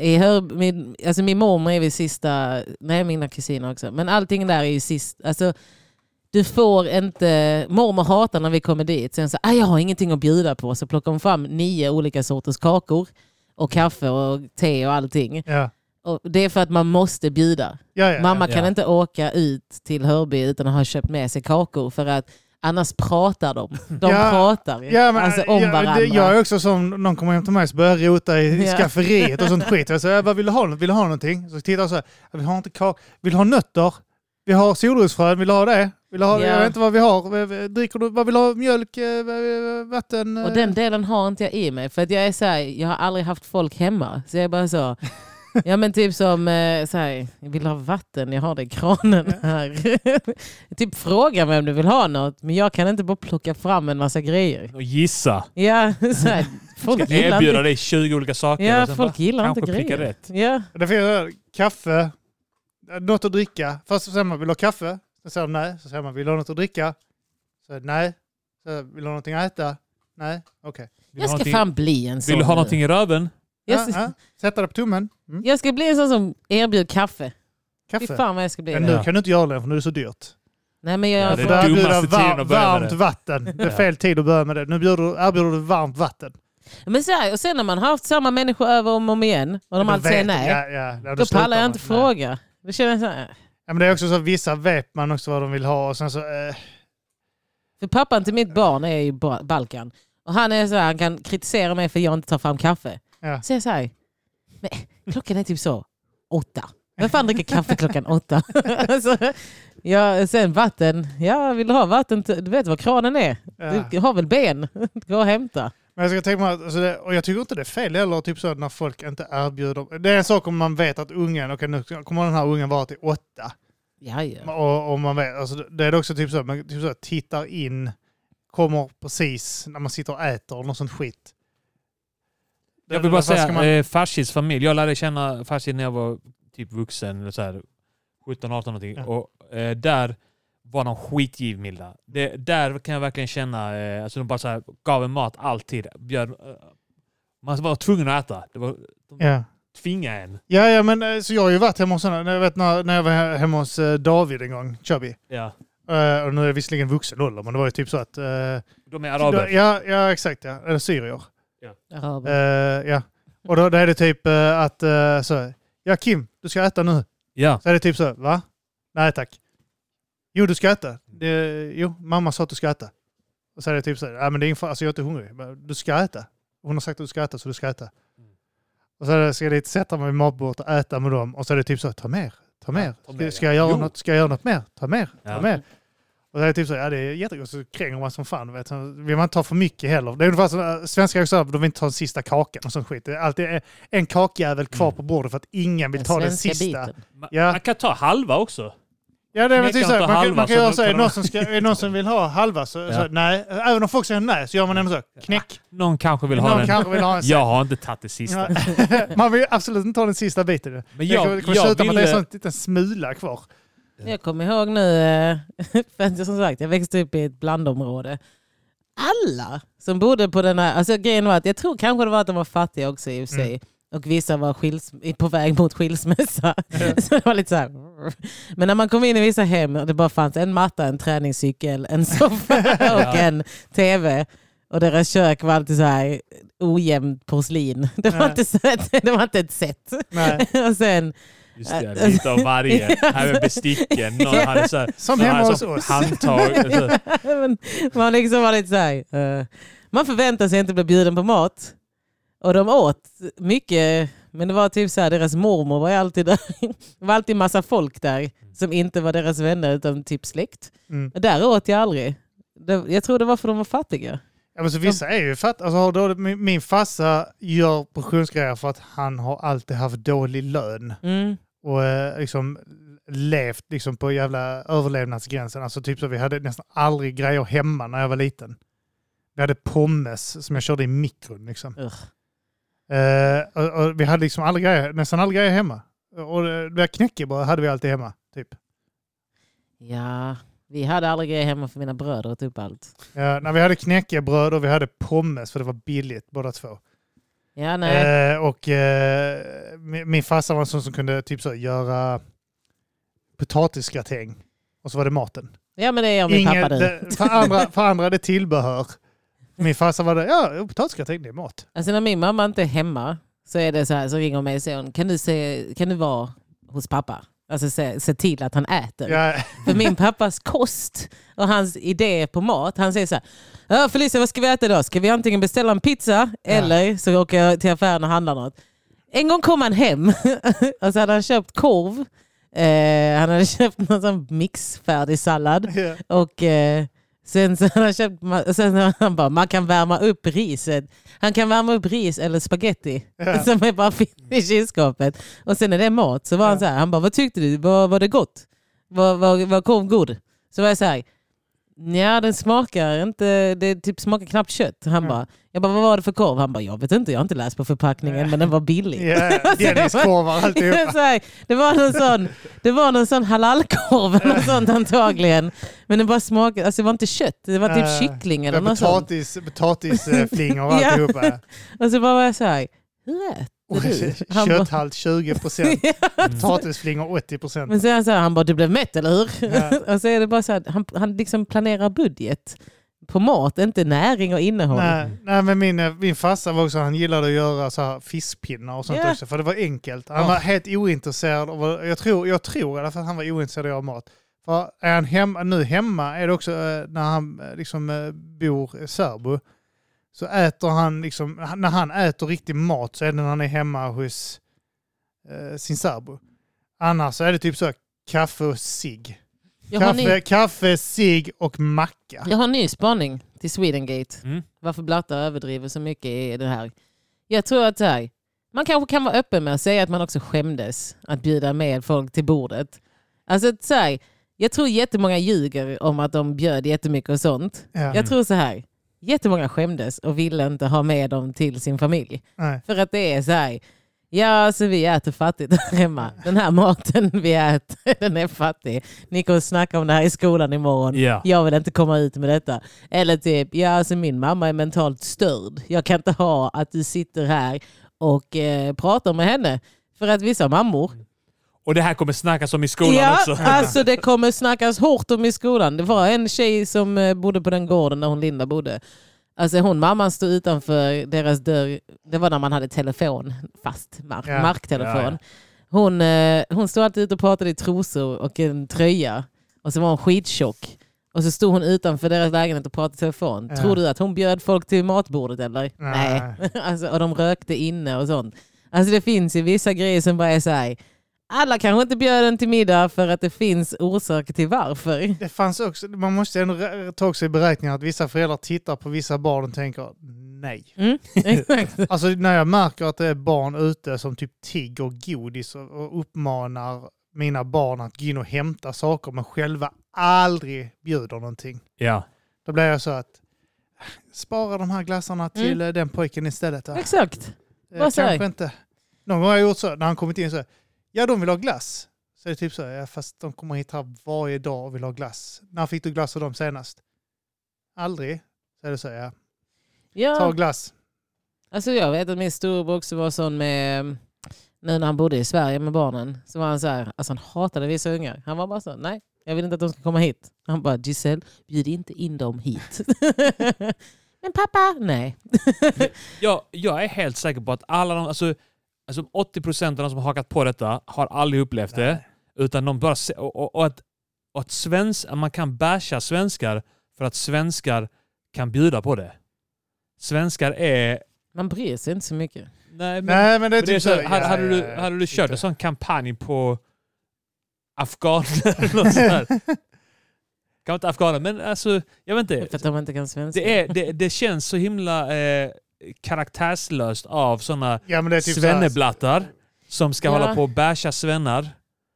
Speaker 1: I Hörby min, alltså min mormor är vid sista, nej mina kusiner också, men allting där är ju sist, alltså du får inte, mormor hatar när vi kommer dit, sen så, ah, jag har ingenting att bjuda på, så plockar hon fram nio olika sorters kakor och kaffe och te och allting.
Speaker 2: Ja,
Speaker 1: Och det är för att man måste bjuda.
Speaker 2: ja, ja.
Speaker 1: Mamma
Speaker 3: ja.
Speaker 1: kan
Speaker 3: Ja.
Speaker 1: inte åka ut till Hörby utan att ha köpt med sig kakor för att annars pratar de. De
Speaker 2: Ja.
Speaker 1: pratar
Speaker 2: Ja, men,
Speaker 1: alltså, om
Speaker 2: ja, det-
Speaker 1: varandra.
Speaker 2: Jag är också som, någon kommer hem till mig och börjar rota i
Speaker 1: Ja.
Speaker 2: skafferiet
Speaker 1: <laughs>
Speaker 2: och sånt skit. Jag säger, vad vill du ha? Vill du ha någonting? Så tittar jag så här, vi har inte kak... Vill du ha nötter? Vi har solrosfrön, vill du ha det? Vill du ha,
Speaker 1: Ja.
Speaker 2: Jag vet inte vad vi har. Dricker du, vad vill du ha? Mjölk, eh, vatten? eh?
Speaker 1: Och den delen har inte jag i mig för att jag är så här, jag har aldrig haft folk hemma. Så jag är
Speaker 2: <laughs>
Speaker 1: bara så, ja men typ som, eh, så här, jag vill ha vatten, jag har det i kranen här. <laughs> typ fråga mig om du vill ha något men jag kan inte bara plocka fram en massa grejer.
Speaker 3: Och gissa.
Speaker 1: Ja, så
Speaker 3: <laughs>
Speaker 1: här, folk gillar
Speaker 3: Erbjuda
Speaker 1: inte,
Speaker 3: dig 20 olika saker.
Speaker 1: ja,
Speaker 3: och sen
Speaker 1: folk
Speaker 3: bara,
Speaker 1: gillar inte
Speaker 3: kanske pricka
Speaker 1: grejer.
Speaker 3: rätt.
Speaker 1: Ja.
Speaker 2: Det finns eh, kaffe, eh, något att dricka. Först så säger man, vill du ha kaffe? Sen säger de nej. Så säger man, vill du ha något att dricka? Så nej. Så, vill du ha någonting att äta? Nej, okej.
Speaker 1: Jag
Speaker 3: Vill du ha
Speaker 1: ska
Speaker 3: någonting-
Speaker 1: fan bli en sån.
Speaker 3: Vill du ha
Speaker 1: nu.
Speaker 3: någonting i röven?
Speaker 1: Jag
Speaker 2: Ja,
Speaker 1: ska-
Speaker 2: ja. Sätta det på tummen. Mm.
Speaker 1: Jag ska bli en sån som erbjuder kaffe. Fy
Speaker 2: Kaffe.
Speaker 1: fan vad jag ska bli.
Speaker 2: Men nu
Speaker 3: Ja.
Speaker 2: kan du inte göra det för nu är det så dyrt.
Speaker 1: Nej, men jag,
Speaker 3: Ja,
Speaker 2: Du
Speaker 3: det är
Speaker 2: börjar bjuda
Speaker 3: dummaste tiden
Speaker 2: var-
Speaker 3: att börja med
Speaker 2: varmt
Speaker 3: det.
Speaker 2: vatten. Det är
Speaker 3: Ja.
Speaker 2: fel tid att börja med det. Nu bjuder du, erbjuder du varmt vatten.
Speaker 1: men så här, och sen när man har haft samma människor över om och om igen och de
Speaker 2: Då
Speaker 1: alltid säger
Speaker 2: vet-
Speaker 1: nej,
Speaker 2: Ja, ja, ja,
Speaker 1: då
Speaker 2: slutar
Speaker 1: pallar jag
Speaker 2: man.
Speaker 1: inte
Speaker 2: Nej.
Speaker 1: fråga. Då känner jag så här,
Speaker 2: Ja, men det är också så att vissa vet man också vad de vill ha och sen så... Eh,
Speaker 1: för pappan till mitt barn är ju ba- Balkan. Och han är så här, han kan kritisera mig för att jag inte tar fram kaffe.
Speaker 2: Ja.
Speaker 1: Så jag säger, men klockan är typ så åtta. Vem fan dricker kaffe klockan åtta? <laughs> alltså, ja, sen vatten. Ja, vill du ha vatten? till- Du vet vad kranen är?
Speaker 2: ja.
Speaker 1: Du har väl ben? <laughs> Gå och hämta.
Speaker 2: Men jag ska tänka mig att, alltså det, och jag tycker inte det är fel heller, typ så att när folk inte erbjuder... Det är en sak om man vet att ungen, okej nu kommer den här ungen vara till åtta.
Speaker 1: Ja, ja.
Speaker 2: Och, och man vet, alltså det- det är också typ så att man typ så att tittar in, kommer precis när man sitter och äter något sånt skit.
Speaker 3: Jag vill bara
Speaker 2: Vad ska
Speaker 3: säga,
Speaker 2: man-
Speaker 3: eh, Farshis familj. Jag lärde känna Farshid när jag var typ vuxen, eller så här, 17, 18 någonting.
Speaker 2: Ja.
Speaker 3: Och eh, där var de skitgivmilda. Det, där kan jag verkligen känna, eh, alltså de bara så här, gav en mat alltid. Bjöd, eh, man var tvungen att äta. Det var, de
Speaker 2: Ja.
Speaker 3: tvingade en.
Speaker 2: Ja, ja, men eh, så jag har ju varit hemma hos sådana, jag vet när, när jag var he- hemma hos eh, David en gång, Chubby.
Speaker 3: Ja.
Speaker 2: Eh, och nu är jag visserligen vuxen ålder, men det var ju typ så att... eh,
Speaker 3: De är araber.
Speaker 2: ja, ja, exakt ja. Eller syrier.
Speaker 1: Araber.
Speaker 2: Eh, ja. Och då, då är det typ eh, att eh, så, ja Kim, du ska äta nu.
Speaker 3: Ja.
Speaker 2: Så är det typ så, va? Nej tack. Jo, du ska äta. Det, jo, mamma sa att du ska äta. Och så är det typ så, nej men det är ingen fara, alltså jag är inte hungrig. Men Du ska äta. Hon har sagt att du ska äta, så du ska äta. Och så är det, ska jag dit, sätta mig vid matbordet och äta med dem. Och så är det typ så, ta mer, ta mer.
Speaker 3: ta mer,
Speaker 2: Ska,
Speaker 3: ja.
Speaker 2: ska, jag, göra
Speaker 3: Jo.
Speaker 2: något, ska jag göra något mer? Ta mer,
Speaker 3: Ja.
Speaker 2: ta mer. Och så är det typ så, ja det är jättegott. Så kränger man som fan. Vet. Så vill man inte ta för mycket heller. Det är ungefär som äh, svenskar också, de vill inte ta den sista kakan och sånt skit. Det är alltid eh, en kakjävel
Speaker 3: Mm.
Speaker 2: kvar på bordet för att ingen vill ta den
Speaker 1: svenska
Speaker 2: sista.
Speaker 1: biten.
Speaker 3: Man,
Speaker 2: Ja.
Speaker 3: man kan ta halva också.
Speaker 2: Ja, det är väl
Speaker 3: Knäcker
Speaker 2: typ så här,
Speaker 3: inte
Speaker 2: man, kan,
Speaker 3: halva,
Speaker 2: man kan
Speaker 3: så
Speaker 2: göra
Speaker 3: då
Speaker 2: så här, är
Speaker 3: kan
Speaker 2: det någon som ska- är det någon som vill ha halva så, så
Speaker 3: Ja.
Speaker 2: nej. Även om folk säger nej så gör man ändå så. Knäck.
Speaker 3: Någon kanske vill ha
Speaker 2: Någon
Speaker 3: den.
Speaker 2: kanske vill ha en
Speaker 3: Jag har inte tagit det sista.
Speaker 2: Ja. <laughs> Man vill ju absolut inte ta den sista biten. Det
Speaker 3: Men
Speaker 2: kommer-
Speaker 3: jag,
Speaker 2: det kommer sluta
Speaker 3: jag
Speaker 2: med att det är
Speaker 3: ville...
Speaker 2: en sån liten smula kvar.
Speaker 1: Jag kommer ihåg nu, eh, <laughs> för att jag som sagt jag växte upp i ett blandområde. Alla som bodde på den här, alltså grejen var att jag tror kanske det var att de var fattiga också i och för sig.
Speaker 2: Mm.
Speaker 1: Och vissa var skils, på väg mot skilsmässa. <laughs> Så det var lite så här. Men när man kom in i vissa hem och det bara fanns en matta, en träningscykel, en soffa
Speaker 2: <laughs>
Speaker 1: och en tv. Och deras kök var alltid så här ojämnt porslin. <laughs> Det var,
Speaker 2: Ja.
Speaker 1: inte, så, det var inte ett sätt.
Speaker 2: Nej.
Speaker 1: <laughs> Och sen,
Speaker 3: Just det, lite av varje. Här är besticken. Någon hade så här,
Speaker 2: Som
Speaker 3: någon
Speaker 2: hemma
Speaker 3: hade
Speaker 2: hos
Speaker 3: så
Speaker 2: oss.
Speaker 3: Handtag. alltså, Så.
Speaker 1: <laughs> Men man liksom var lite så här, eh, Man förväntar sig inte bli bjuden på mat. Och de åt mycket. Men det var typ så här, deras mormor var ju alltid där. Det var alltid massa folk där som inte var deras vänner utan typ släkt.
Speaker 2: Mm.
Speaker 1: Och där åt jag aldrig. Det- Jag tror det var för de var fattiga.
Speaker 2: Ja, men så vissa är ju fatt. Alltså, har dåligt, min min farsa gör pensionsgrejer för att han har alltid haft dålig lön.
Speaker 1: Mm.
Speaker 2: och eh, liksom levt liksom på jävla överlevnadsgränsen. Alltså typ så vi hade nästan aldrig grejer hemma när jag var liten. Vi hade pommes som jag körde i mikron liksom.
Speaker 1: Ugh.
Speaker 2: Eh, och, och vi hade liksom aldrig grejer, nästan aldrig grejer hemma. Och eh, det där knäckebröd hade vi alltid hemma. Typ.
Speaker 1: Ja, vi hade aldrig grejer hemma för mina bröder åt upp allt.
Speaker 2: Ja, när vi hade knäckebröd och vi hade pommes för det var billigt båda två.
Speaker 1: Ja, nej.
Speaker 2: Eh, och eh, min, min farsa var en sån som kunde typ så göra potatisgratäng. Och så var det maten.
Speaker 1: ja men det är jag och min
Speaker 2: Ingen-
Speaker 1: pappa nu.
Speaker 2: det- för, andra, för andra det tillbehör. Min farsa var där, ja, potatisgratäng det är mat.
Speaker 1: Alltså när min mamma inte är hemma så, är det så, här, så ringer hon mig och säger hon, kan du, se, kan du vara hos pappa? Alltså se, se till att han äter.
Speaker 2: Ja,
Speaker 1: För min pappas kost och hans idé på mat, han säger så här, "Ja, Felicia vad ska vi äta idag? Ska vi antingen beställa en pizza eller så åker jag till affären och handlar något. En gång kom han hem <laughs> och så hade han köpt korv, eh, han hade köpt någon sån mixfärdig sallad.
Speaker 2: ja.
Speaker 1: Och eh, sen så har han köpt, ma- sen har han bara, man kan värma upp riset. Han kan värma upp ris eller spaghetti
Speaker 2: Ja.
Speaker 1: <laughs> som är bara finns i kylskåpet. Och sen när det är mat så var han så här, han bara, vad tyckte du? Var, var det gott? Var, var, var korv god? Så var jag så här, Nja, den smakar inte, det typ smakar knappt kött. Han bara, jag bara, vad var det för korv? Han bara, jag vet inte, jag har inte läst på förpackningen men den var billig.
Speaker 2: ja, Denniskorvar alltihopa.
Speaker 1: <laughs> Så här, det var någon sån, det var någon sån halalkorv eller något sånt antagligen. Men det bara smakade, alltså det var inte kött, det var
Speaker 2: Äh,
Speaker 1: typ kyckling eller
Speaker 2: Ja,
Speaker 1: något sånt.
Speaker 2: Potatis, potatisflingor och
Speaker 1: <laughs> Ja.
Speaker 2: alltihopa.
Speaker 1: Och så bara var jag så här, hur äter du? Han bara,
Speaker 2: Kötthalt 20
Speaker 1: <laughs>
Speaker 2: procent, potatisflingor 80 procent.
Speaker 1: men sen så här, han bara, du blev mätt eller hur?
Speaker 2: Ja.
Speaker 1: <laughs> Och så är det bara så här, han, han liksom planerar budget på mat, inte näring och innehåll.
Speaker 2: Nej, nej, men min, eh, min farsa var också, han gillade att göra så här fiskpinnar och sånt
Speaker 1: Ja.
Speaker 2: också, för det var enkelt. Han
Speaker 1: Ja.
Speaker 2: var helt ointresserad, av, jag tror, jag tror i alla fall att han var ointresserad av mat. För är han hemma, nu hemma är det också eh, när han eh, liksom eh, bor i Sörbo, så äter han liksom, han- när han äter riktig mat så är det när han är hemma hos eh, sin särbo. Annars så är det typ så här, kaffe och cigg.
Speaker 1: Jag, har
Speaker 2: Kaffe,
Speaker 1: ny,
Speaker 2: kaffe, cigg och macka.
Speaker 1: jag har en ny spaning till Swedengate.
Speaker 3: Mm.
Speaker 1: varför blattar överdriver så mycket i det här. Jag tror att så här, man kanske kan vara öppen med att säga att man också skämdes att bjuda med folk till bordet. Alltså att så här, jag tror jättemånga ljuger om att de bjöd jättemycket och sånt.
Speaker 2: Ja.
Speaker 1: Jag tror så här, jättemånga skämdes och ville inte ha med dem till sin familj.
Speaker 2: Nej.
Speaker 1: <laughs> För att det är så här, ja så vi äter fattigt här hemma. Den här maten <laughs> vi äter, den är fattig. Ni kommer snacka om det här i skolan imorgon.
Speaker 3: Ja.
Speaker 1: Jag vill inte komma ut med detta. Eller typ, ja alltså min mamma är mentalt störd. Jag kan inte ha att du sitter här och eh, pratar med henne. För att vissa mammor,
Speaker 3: Och det här kommer snackas om i skolan
Speaker 1: ja, <laughs>
Speaker 3: också.
Speaker 1: alltså det kommer snackas hårt om i skolan. Det var en tjej som eh, bodde på den gården där hon Linda bodde. Alltså hon mamman stod utanför deras dörr. Det var när man hade telefon, fast mark,
Speaker 2: Ja,
Speaker 1: marktelefon.
Speaker 3: ja, ja.
Speaker 1: Hon, eh, hon stod alltid ute och pratade i trosor och en tröja. Och så var hon skittjock. Och så stod hon utanför deras lägenhet och pratade i telefon.
Speaker 2: Ja.
Speaker 1: Tror du att hon bjöd folk till matbordet eller?
Speaker 2: Nej.
Speaker 1: <laughs> alltså, och de rökte inne och sånt. Alltså det finns ju vissa grejer som bara är så här. Alla kanske inte bjöd en till middag för att det finns orsaker
Speaker 2: <laughs>
Speaker 1: till varför. <laughs>
Speaker 2: Det fanns också, man måste ändå rä- ta också i beräkningen att vissa föräldrar tittar på vissa barn och tänker nej.
Speaker 1: Mm, exakt.
Speaker 2: Alltså när jag märker att det är barn ute som typ tigger godis och- och uppmanar mina barn att gå in och hämta saker men själva aldrig bjuder någonting.
Speaker 3: <laughs> Ja.
Speaker 2: Då blir jag så att "Ah, spara de här glassarna till
Speaker 1: Mm.
Speaker 2: eh, den pojken istället. Eh,
Speaker 1: exakt.
Speaker 2: eh,
Speaker 1: vad säger
Speaker 2: kanske inte. Någon gång har jag gjort så när han kommit in så här, ja de vill ha glass. Så är det typ så här, ja, fast de kommer hit här varje dag och vill ha glass. När fick du glass av dem senast? Aldrig. Så är det så här, ja. Ta
Speaker 1: Ja,
Speaker 2: glass.
Speaker 1: alltså jag vet att min storebror också var sån med, nu när han bodde i Sverige med barnen, så var han så här, alltså han hatade vissa ungar. Han var bara så, nej, jag vill inte att de ska komma hit. Han bara, Giselle, bjud inte in dem hit. <laughs> Men pappa, nej.
Speaker 3: Jag, jag är helt säker på att alla de, alltså, alltså 80 procent av de som har hakat på detta har aldrig upplevt det. Utan de bara, se- och, och, och att, och att, svensk, att man kan basha svenskar för att svenskar kan bjuda på det. Svenskar är...
Speaker 1: Man bryr sig inte så mycket.
Speaker 3: Nej,
Speaker 2: Nej
Speaker 3: men,
Speaker 2: men det är
Speaker 3: men det är
Speaker 2: typ
Speaker 3: så,
Speaker 2: så här,
Speaker 3: här, hade,
Speaker 2: ja,
Speaker 3: hade,
Speaker 2: ja,
Speaker 3: du,
Speaker 2: ja, typ
Speaker 3: hade du
Speaker 2: inte.
Speaker 3: kört en sån kampanj på afghaner <laughs> eller
Speaker 2: <laughs>
Speaker 3: något sånt här. Kanske inte afghaner, men alltså, jag vet
Speaker 1: För
Speaker 3: inte.
Speaker 1: att de inte kan svenska.
Speaker 3: Det, är, det, det känns så himla eh, karaktärslöst av såna
Speaker 2: Ja, men det är typ så här-
Speaker 3: svenneblattar som ska
Speaker 1: Ja.
Speaker 3: hålla på och basha svennar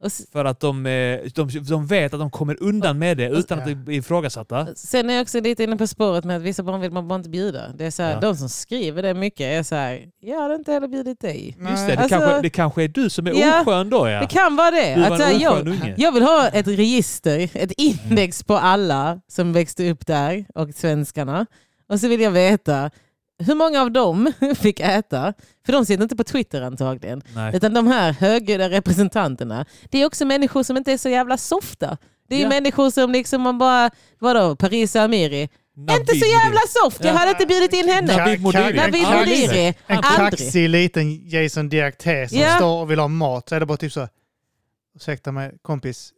Speaker 1: Och s-
Speaker 3: för att de, eh, de, de vet att de kommer undan med det utan att
Speaker 2: Ja.
Speaker 3: det blir ifrågasatta.
Speaker 1: Sen är jag också lite inne på spåret med att vissa barn vill man bara inte bjuda. Det är så här,
Speaker 3: Ja.
Speaker 1: De som skriver det mycket är så här, jag hade inte heller bjudit dig.
Speaker 2: Nej.
Speaker 3: Just det, det,
Speaker 1: Alltså-
Speaker 3: kanske, det kanske är du som är
Speaker 1: Ja.
Speaker 3: oskön då ja.
Speaker 1: Det kan vara det.
Speaker 3: Du var
Speaker 1: Att så här,
Speaker 3: en Mm.
Speaker 1: jag,
Speaker 3: oskön unge.
Speaker 1: jag vill ha ett register, ett index på alla som växte upp där och svenskarna. Och så vill jag veta hur många av dem <laughs> fick äta. För de sitter inte på Twitter antagligen.
Speaker 3: Nej.
Speaker 1: Utan de här högljudda representanterna, det är också människor som inte är så jävla softa. Det är ju
Speaker 3: Ja.
Speaker 1: människor som liksom man bara, vadå, Paris Amiri. Inte så jävla soft, jag
Speaker 3: Ja.
Speaker 1: hade inte bjudit in henne.
Speaker 3: Navid Modiri.
Speaker 1: Navid
Speaker 2: En kax-
Speaker 1: Modiri,
Speaker 2: En
Speaker 1: aldrig.
Speaker 2: kaxig liten Jason Diakité som
Speaker 1: Ja.
Speaker 2: står och vill ha mat. Så är det bara typ så här, ursäkta mig kompis,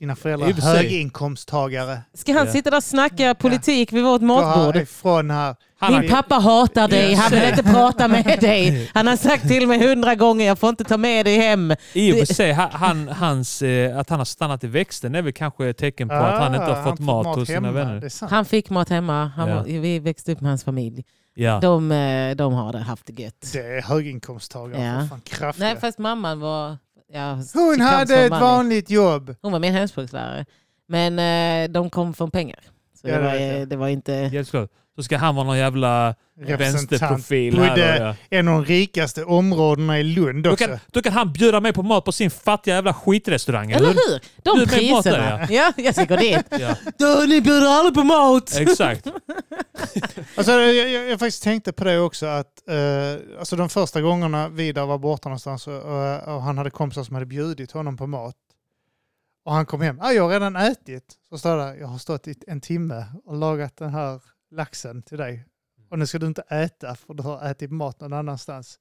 Speaker 2: dina föräldrar
Speaker 3: I och
Speaker 2: är
Speaker 3: för sig.
Speaker 2: höginkomsttagare.
Speaker 1: Ska han
Speaker 3: Ja.
Speaker 1: sitta där och snacka politik vid vårt
Speaker 2: Gå
Speaker 1: matbord?
Speaker 2: härifrån här.
Speaker 3: Han har,
Speaker 1: Din pappa hatar dig, han vill
Speaker 3: Yes.
Speaker 1: inte prata med dig. Han har sagt till mig hundra gånger, jag får inte ta med dig hem.
Speaker 3: I och för sig, ha- han, hans, eh, att han har stannat i växten är väl kanske ett tecken på att han inte
Speaker 2: Ah,
Speaker 3: har fått mat, hos sina
Speaker 2: hemma. Det
Speaker 3: vänner.
Speaker 2: är sant.
Speaker 1: Han fick mat hemma, han
Speaker 3: Ja.
Speaker 1: var, vi växte upp med hans familj.
Speaker 3: Ja.
Speaker 1: De, eh, de har det haft det gött.
Speaker 2: Det är höginkomsttagare.
Speaker 1: Ja.
Speaker 2: för Fan, kraftiga.
Speaker 1: Nej, fast mamman var... Ja,
Speaker 2: Hon
Speaker 1: she comes
Speaker 2: hade
Speaker 1: from
Speaker 2: ett
Speaker 1: money.
Speaker 2: vanligt jobb.
Speaker 1: Hon var min hemspråkslärare. Men eh, de kom från pengar. Så
Speaker 2: Ja,
Speaker 1: det,
Speaker 2: det
Speaker 1: var,
Speaker 2: vet jag.
Speaker 1: eh, det var inte...
Speaker 3: Helt klart. Så ska han vara någon jävla
Speaker 2: Representant.
Speaker 3: vänsterprofil här då,
Speaker 2: Bodde
Speaker 3: ja.
Speaker 2: en av de rikaste områdena i Lund
Speaker 3: Då
Speaker 2: också.
Speaker 3: kan, då kan han bjuda mig på mat på sin fattiga jävla skitrestaurang.
Speaker 1: Eller
Speaker 3: hur?
Speaker 1: hur?
Speaker 3: Du
Speaker 1: De
Speaker 3: är med maten,
Speaker 1: priserna. ja. jag ska gå dit.
Speaker 3: Ja,
Speaker 1: Du, ni bjuder aldrig på mat!
Speaker 3: exakt.
Speaker 2: Alltså, jag, jag, jag faktiskt tänkte på det också att eh, alltså de första gångerna Vidar var borta någonstans och, och, och han hade kompisar som hade bjudit honom på mat. Och han kom hem. Ah, jag har redan ätit. Så står det, jag har stått i en timme och lagat den här laxen till dig. Och nu ska du inte äta för du har ätit mat någon annanstans.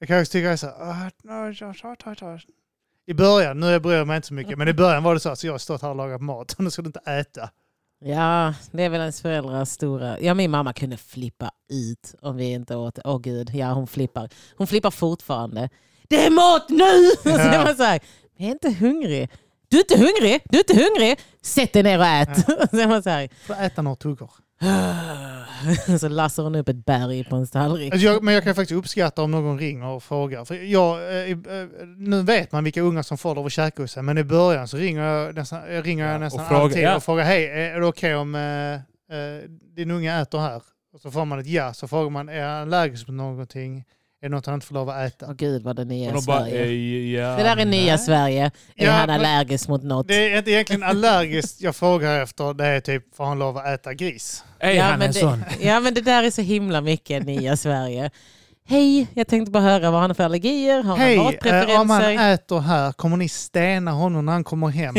Speaker 2: Det kan jag också tycka är så här, "Ah, no, ja, ja, ja, ja." I början, nu bryr jag mig inte så mycket, men i början var det så att jag har stått här och lagat mat <laughs> och nu ska du inte äta.
Speaker 1: Ja, det är väl ens föräldrars stora... Ja, min mamma kunde flippa ut om vi inte åt. Åh gud, ja hon flippar. Hon flippar fortfarande. Det är mat nu! <laughs> Och så är man så här, jag är inte hungrig. Du är inte hungrig? Du är inte hungrig? Sätt dig ner och ät! Och <laughs> så är man så här...
Speaker 2: Får äta några tuggor.
Speaker 1: <laughs> Så lassar hon upp ett berg på en tallrik.
Speaker 2: Alltså jag, men jag kan faktiskt uppskatta om någon ringer och frågar. För jag, eh, eh, nu vet man vilka ungar som får lov att käka hos sig, men i början så ringer jag nästan, eh, ringer jag
Speaker 3: Ja,
Speaker 2: nästan
Speaker 3: och fråga-
Speaker 2: alltid
Speaker 3: ja.
Speaker 2: och frågar hej, är det okej om eh, eh, din unge äter här? Och så får man ett ja, så frågar man är han allergisk mot någonting? Är det något han inte får lov att äta?
Speaker 1: Åh gud vad det nya
Speaker 3: Och de bara,
Speaker 1: Sverige.
Speaker 3: eh, ja,
Speaker 1: det där är nya
Speaker 3: nej.
Speaker 1: Sverige. Är
Speaker 2: Ja,
Speaker 1: han
Speaker 2: men-
Speaker 1: allergisk mot något?
Speaker 2: Det är inte egentligen allergiskt jag frågar efter, det är typ får han lov att äta gris?
Speaker 3: Är
Speaker 1: ja,
Speaker 3: han
Speaker 1: men
Speaker 3: en
Speaker 1: det,
Speaker 3: sån?
Speaker 1: <laughs> ja men det där är så himla mycket nya Sverige. Hej, jag tänkte bara höra vad han har för allergier. Har
Speaker 2: Hej, eh,
Speaker 1: han
Speaker 2: om han
Speaker 1: matpreferenser?
Speaker 2: äter här, kommer ni stena honom när han kommer hem?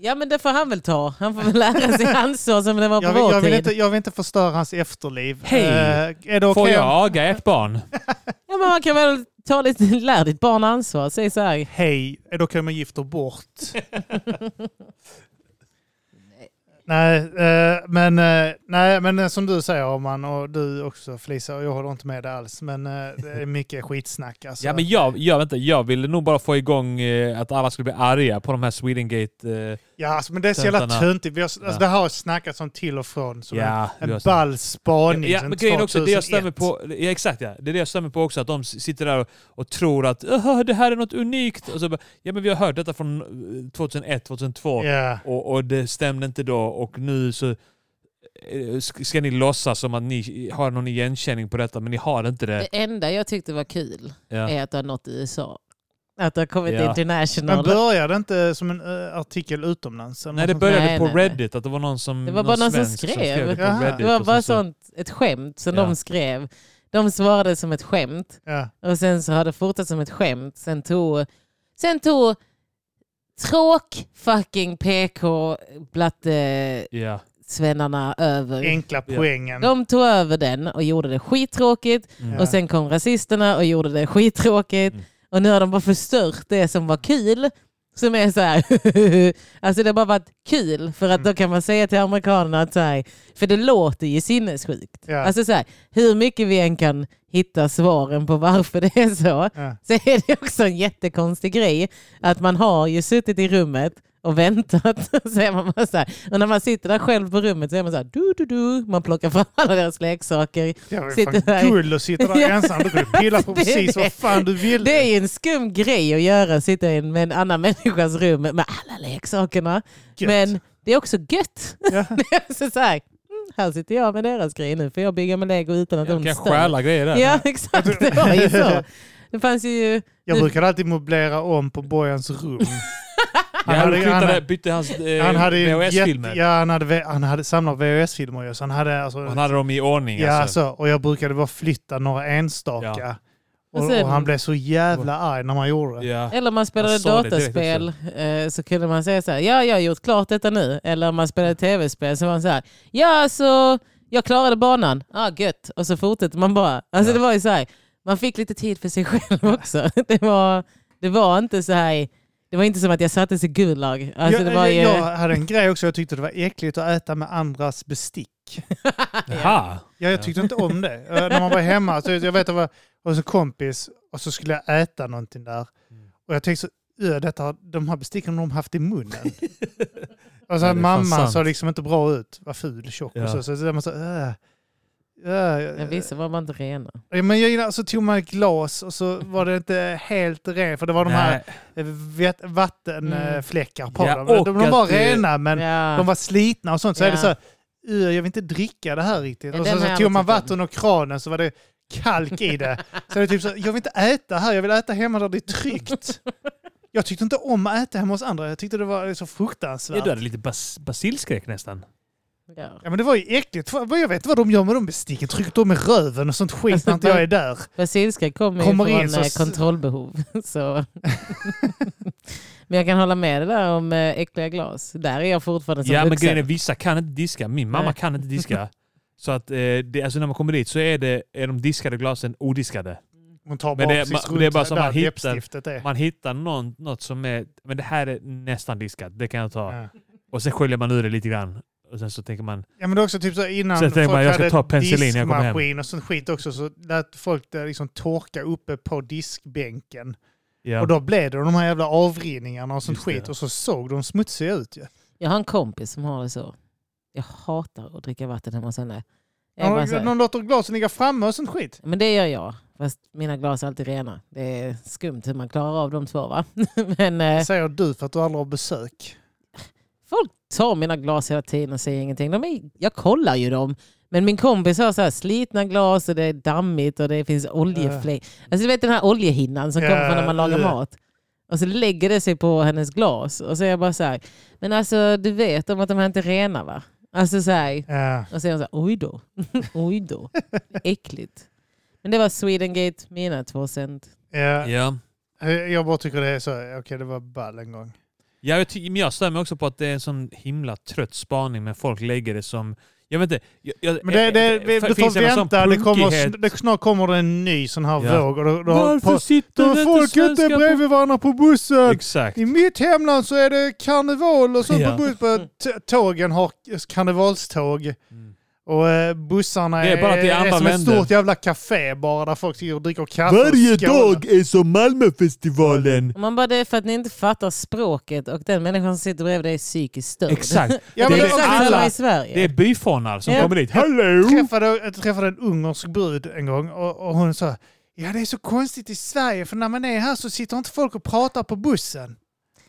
Speaker 1: Ja men det får han väl ta. Han får väl lära sig ansvar som det var på
Speaker 2: Jag vill,
Speaker 1: vår
Speaker 2: jag, vill
Speaker 1: tid.
Speaker 2: inte, jag vill inte förstöra hans efterliv.
Speaker 3: Hej,
Speaker 2: Eh, är det
Speaker 3: Får
Speaker 2: okej om-
Speaker 3: jag aga ett barn?
Speaker 1: Ja, men man kan väl ta lite, <laughs> lär ditt barn ansvar. Säg så här.
Speaker 2: Hej, eh, då kan man gifta bort.
Speaker 3: <laughs>
Speaker 2: nej, eh, men, eh, nej, men eh, som du säger man och du också Felicia, och jag håller inte med dig alls, men eh, det är mycket skitsnack. Alltså.
Speaker 3: Ja, men jag, jag, vänta, jag ville nog bara få igång eh, att alla skulle bli arga på de här Swedengate... Eh,
Speaker 2: Ja, alltså, men det är så jävla
Speaker 3: Töntarna.
Speaker 2: töntigt. Vi har, alltså,
Speaker 3: Ja.
Speaker 2: Det här har snackats om till och från som
Speaker 3: ja,
Speaker 2: en,
Speaker 3: vi har
Speaker 2: en
Speaker 3: sagt.
Speaker 2: ball spaning
Speaker 3: Ja,
Speaker 2: sedan
Speaker 3: men grejen är också, det jag
Speaker 2: 2001.
Speaker 3: stämmer på, ja, exakt ja. Det är det jag stämmer på också, att de s- sitter där och, och tror att "Aha, det här är något unikt. Och så, bara, ja men vi har hört detta från eh, 2001, 2002
Speaker 2: Ja.
Speaker 3: och, och det stämde inte då och nu så eh, sk- ska ni låtsas som att ni har någon igenkänning på detta men ni har inte det.
Speaker 1: Det enda jag tyckte var kul
Speaker 3: Ja.
Speaker 1: är att du har nått i USA. Att du har kommit
Speaker 3: Ja.
Speaker 2: Men
Speaker 1: international.
Speaker 2: började inte som en eh, artikel utomlands? eller
Speaker 3: Nej det
Speaker 2: något sånt?
Speaker 3: började
Speaker 1: Nej,
Speaker 3: på
Speaker 1: nej, nej.
Speaker 3: Reddit, att det var någon som
Speaker 1: Det var bara någon som
Speaker 3: svensk
Speaker 1: skrev.
Speaker 3: det på
Speaker 2: Jaha.
Speaker 3: Reddit
Speaker 1: det var
Speaker 3: och
Speaker 1: bara
Speaker 3: sen så-
Speaker 1: sånt, ett skämt som
Speaker 3: Ja.
Speaker 1: de skrev. De svarade som ett skämt
Speaker 2: Ja.
Speaker 1: och sen så har det fortsatt som ett skämt. Sen tog, sen tog tråk fucking PK blatte
Speaker 3: Ja.
Speaker 1: svennarna över.
Speaker 2: Enkla poängen.
Speaker 1: De tog över den och gjorde det skittråkigt.
Speaker 3: Mm.
Speaker 2: Ja.
Speaker 1: Och sen kom rasisterna och gjorde det skittråkigt.
Speaker 3: Mm.
Speaker 1: Och nu har de bara förstört det som var kul. Som är så här, <laughs> alltså det har bara varit kul för att
Speaker 2: Mm.
Speaker 1: då kan man säga till amerikanerna att så här, för det låter ju sinnessjukt.
Speaker 2: Ja.
Speaker 1: Alltså så här, hur mycket vi än kan hitta svaren på varför det är så,
Speaker 2: Ja.
Speaker 1: så är det också en jättekonstig grej att man har ju suttit i rummet och väntat. <laughs> Så är man bara så här. Och när man sitter där själv på rummet så är man så här, du, du, du. man plockar fram alla deras leksaker.
Speaker 2: Det var ju
Speaker 1: Sitter
Speaker 2: fan
Speaker 1: där.
Speaker 2: guld att sitta där
Speaker 1: Ja.
Speaker 2: ensam. Du
Speaker 1: <laughs>
Speaker 2: kunde pilla på
Speaker 1: Det är
Speaker 2: precis
Speaker 1: det.
Speaker 2: vad fan du ville.
Speaker 1: Det är ju en skum grej att göra, sitta i en- med en annan <laughs> människas rum med alla leksakerna.
Speaker 2: Gött.
Speaker 1: Men det är också gött. <laughs>
Speaker 2: Ja.
Speaker 1: Det är så så här, mm, här sitter jag med deras grej nu, för jag bygga med lego utan att
Speaker 3: Jag
Speaker 1: de
Speaker 3: kan
Speaker 1: stör.
Speaker 3: stjäla grejer där.
Speaker 1: Ja, <laughs>
Speaker 3: <laughs>
Speaker 1: exakt. Det var ju så. Det fanns ju...
Speaker 2: Jag brukar alltid möblera om på Bojans rum.
Speaker 3: Han
Speaker 2: Han hade-
Speaker 3: hade,
Speaker 2: han hade-
Speaker 3: bytte hans eh,
Speaker 2: Han hade ju jätte-
Speaker 3: VHS-filmer.
Speaker 2: ja, han hade, ve- han hade samlat VHS-filmer ju. Så han hade, alltså,
Speaker 3: Han hade dem i ordning
Speaker 2: ja,
Speaker 3: alltså.
Speaker 2: så, och jag brukade bara flytta några enstaka.
Speaker 3: Ja.
Speaker 1: Och
Speaker 2: Och,
Speaker 1: sen-
Speaker 2: och han blev så jävla arg när man gjorde det.
Speaker 3: Ja.
Speaker 1: Eller om man spelade
Speaker 3: Jag sa det direkt
Speaker 1: dataspel eh, så kunde man säga så här, ja jag har gjort klart detta nu. Eller om man spelade tv-spel så var man så här, ja så jag klarade banan, ah gött. Och så fortsätter man bara. Alltså det
Speaker 3: Ja.
Speaker 1: var ju så här, man fick lite tid för sig <laughs> själv också. Det var, det var inte så här, det var inte som att jag sattes i Gulag. Alltså
Speaker 2: jag,
Speaker 1: det var ju,
Speaker 2: jag, jag hade en grej också. Jag tyckte det var äckligt att äta med andras bestick.
Speaker 3: Jaha.
Speaker 2: Ja, jag tyckte inte om
Speaker 3: <laughs>
Speaker 2: det. Eh, när man var hemma, så jag vet att jag var hos en kompis och så skulle jag äta någonting där.
Speaker 3: Mm.
Speaker 2: Och jag tänkte så, "Ö, detta, har- de här besticken har de haft i
Speaker 3: <laughs>
Speaker 2: munnen. och så
Speaker 3: Ja, det
Speaker 2: här,
Speaker 3: är fan
Speaker 2: mamman
Speaker 3: sant.
Speaker 2: såg liksom inte bra ut, var ful, tjock
Speaker 3: Ja.
Speaker 2: och så. Så där man så, "Ö, ö,
Speaker 1: men vissa var man inte rena.
Speaker 2: Ja, Men jag gillar, så tog man ett glas och så var det inte helt rent, för det var de här eh, vet- vattenfläckar på
Speaker 3: Ja,
Speaker 2: dem. De, de
Speaker 3: och
Speaker 2: var
Speaker 3: att det-
Speaker 2: rena men
Speaker 1: Ja.
Speaker 2: de var slitna och sånt. Så
Speaker 1: Ja.
Speaker 2: är det så här, "Ö, jag vill inte dricka det här riktigt.
Speaker 1: Ja,
Speaker 2: och
Speaker 1: den
Speaker 2: så,
Speaker 1: har
Speaker 2: så
Speaker 1: jag
Speaker 2: tog man
Speaker 1: aldrig tyckt
Speaker 2: vatten och kranen så var det kalk i det. Så det är typ så, jag vill inte äta här, jag vill äta hemma där det är tryggt. Jag tyckte inte om att äta hemma hos andra, jag tyckte det var så
Speaker 3: Ja,
Speaker 2: fruktansvärt.
Speaker 3: du hade lite bas basilskräck nästan.
Speaker 1: ja.
Speaker 2: Ja men det var ju äckligt. Fan, vad Jag vet vad de gör med de besticken. Trycker dem i röven och sånt skit när inte jag är där.
Speaker 1: Basilska kommer,
Speaker 2: Kommer
Speaker 1: ju
Speaker 2: in
Speaker 1: från
Speaker 2: så-
Speaker 1: eh, kontrollbehov. <laughs> Så. men jag kan hålla med det där om eh, äckliga glas. Där är jag fortfarande som
Speaker 3: Ja, men
Speaker 1: vuxen.
Speaker 3: grejen är vissa kan inte diska. Min mamma
Speaker 1: Nej. <laughs>
Speaker 3: kan inte diska. Så att eh, det, alltså när man kommer dit så är, det, är de diskade glasen odiskade.
Speaker 2: Hon tar
Speaker 3: Men
Speaker 2: bara
Speaker 3: det-
Speaker 2: precis
Speaker 3: ma- det är
Speaker 2: runt
Speaker 3: bara som
Speaker 2: där
Speaker 3: man hittar.
Speaker 2: läppstiftet är.
Speaker 3: Man hittar någon, något som är, men det här är nästan diskat, det kan jag ta.
Speaker 2: Ja.
Speaker 3: Och sen sköljer man ur det lite grann. Och sen så tänker man,
Speaker 2: Ja men det är också typ så här, innan
Speaker 3: Så jag tänkte
Speaker 2: folk
Speaker 3: bara, jag ska
Speaker 2: hade
Speaker 3: ta penicillin när jag kommer hem.
Speaker 2: diskmaskin och sånt skit också så lät folk det liksom torka uppe på diskbänken.
Speaker 3: ja,
Speaker 2: Och då blev det de här jävla avrinningarna och sånt
Speaker 3: Just det.
Speaker 2: skit och så såg de smutsiga ut ju.
Speaker 1: Jag har en kompis som har det så. Jag hatar att dricka vatten hemma hos henne. Jag är bara
Speaker 2: Ja.
Speaker 1: så här,
Speaker 2: Någon låter glasen ligga framme och sånt skit.
Speaker 1: Men det gör jag. Fast mina glas är alltid rena. Det är skumt hur man klarar av de två va? <laughs> Men eh,
Speaker 2: Det säger du för att du aldrig har besök.
Speaker 1: folk tar mina glas hela tiden och säger ingenting. De är, jag kollar ju dem. Men min kompis har så här slitna glas och det är dammigt och det finns oljefläck. Alltså du vet den här oljehinnan som
Speaker 2: Ja,
Speaker 1: kommer från när man lagar
Speaker 2: ja.
Speaker 1: mat. Och så lägger det sig på hennes glas. Och så är jag bara så här. Men alltså du vet om att de här inte är rena va? Alltså så här.
Speaker 2: Ja.
Speaker 1: Och så är hon så här, oj då, <laughs> oj då, äckligt. Men det var Swedengate, mina två cent.
Speaker 2: Ja.
Speaker 3: ja.
Speaker 2: Jag bara tycker det är så, okej det var ball en gång.
Speaker 3: Ja, jag, ty- men jag stör mig också på att det är en sån himla trött spaning, men folk lägger det som... Jag vet inte. Jag, jag,
Speaker 2: Men det, det, vi, du får
Speaker 3: finns någon sån
Speaker 2: vänta, det kommer,
Speaker 3: punkighet?
Speaker 2: det, snart kommer det en ny sån här
Speaker 3: Ja.
Speaker 2: våg. Och då, då, har-
Speaker 3: Varför
Speaker 2: på, då
Speaker 3: sitter
Speaker 2: har
Speaker 3: det
Speaker 2: folk
Speaker 3: svenskar
Speaker 2: inte bredvid varandra på bussen!
Speaker 3: på... Exakt.
Speaker 2: I mitt hemland så är det karneval och så
Speaker 3: Ja.
Speaker 2: på buss. på t- Tågen har karnevalståg. Och eh, bussarna
Speaker 3: Mm. Det är bara att det är andra
Speaker 2: som ett
Speaker 3: länder.
Speaker 2: stort jävla café bara där folk sitter och dricker kaffe
Speaker 1: Alltså,
Speaker 3: Varje
Speaker 2: och skålar.
Speaker 3: dag är som Malmöfestivalen!
Speaker 1: Och Man bara, det är för att ni inte fattar språket och den människan som sitter bredvid dig är psykiskt störd.
Speaker 3: Exakt. <laughs>
Speaker 2: Ja,
Speaker 1: Det
Speaker 2: men
Speaker 1: är
Speaker 3: det,
Speaker 1: exakt
Speaker 3: är
Speaker 2: alla-
Speaker 1: samma
Speaker 3: alla,
Speaker 1: i Sverige.
Speaker 3: det är byfånar som
Speaker 1: Ja.
Speaker 3: kommer dit. Hello!
Speaker 2: träffade, jag träffade en ungersk brud en gång och, och hon sa Ja det är så konstigt i Sverige för när man är här så sitter inte folk och pratar på bussen.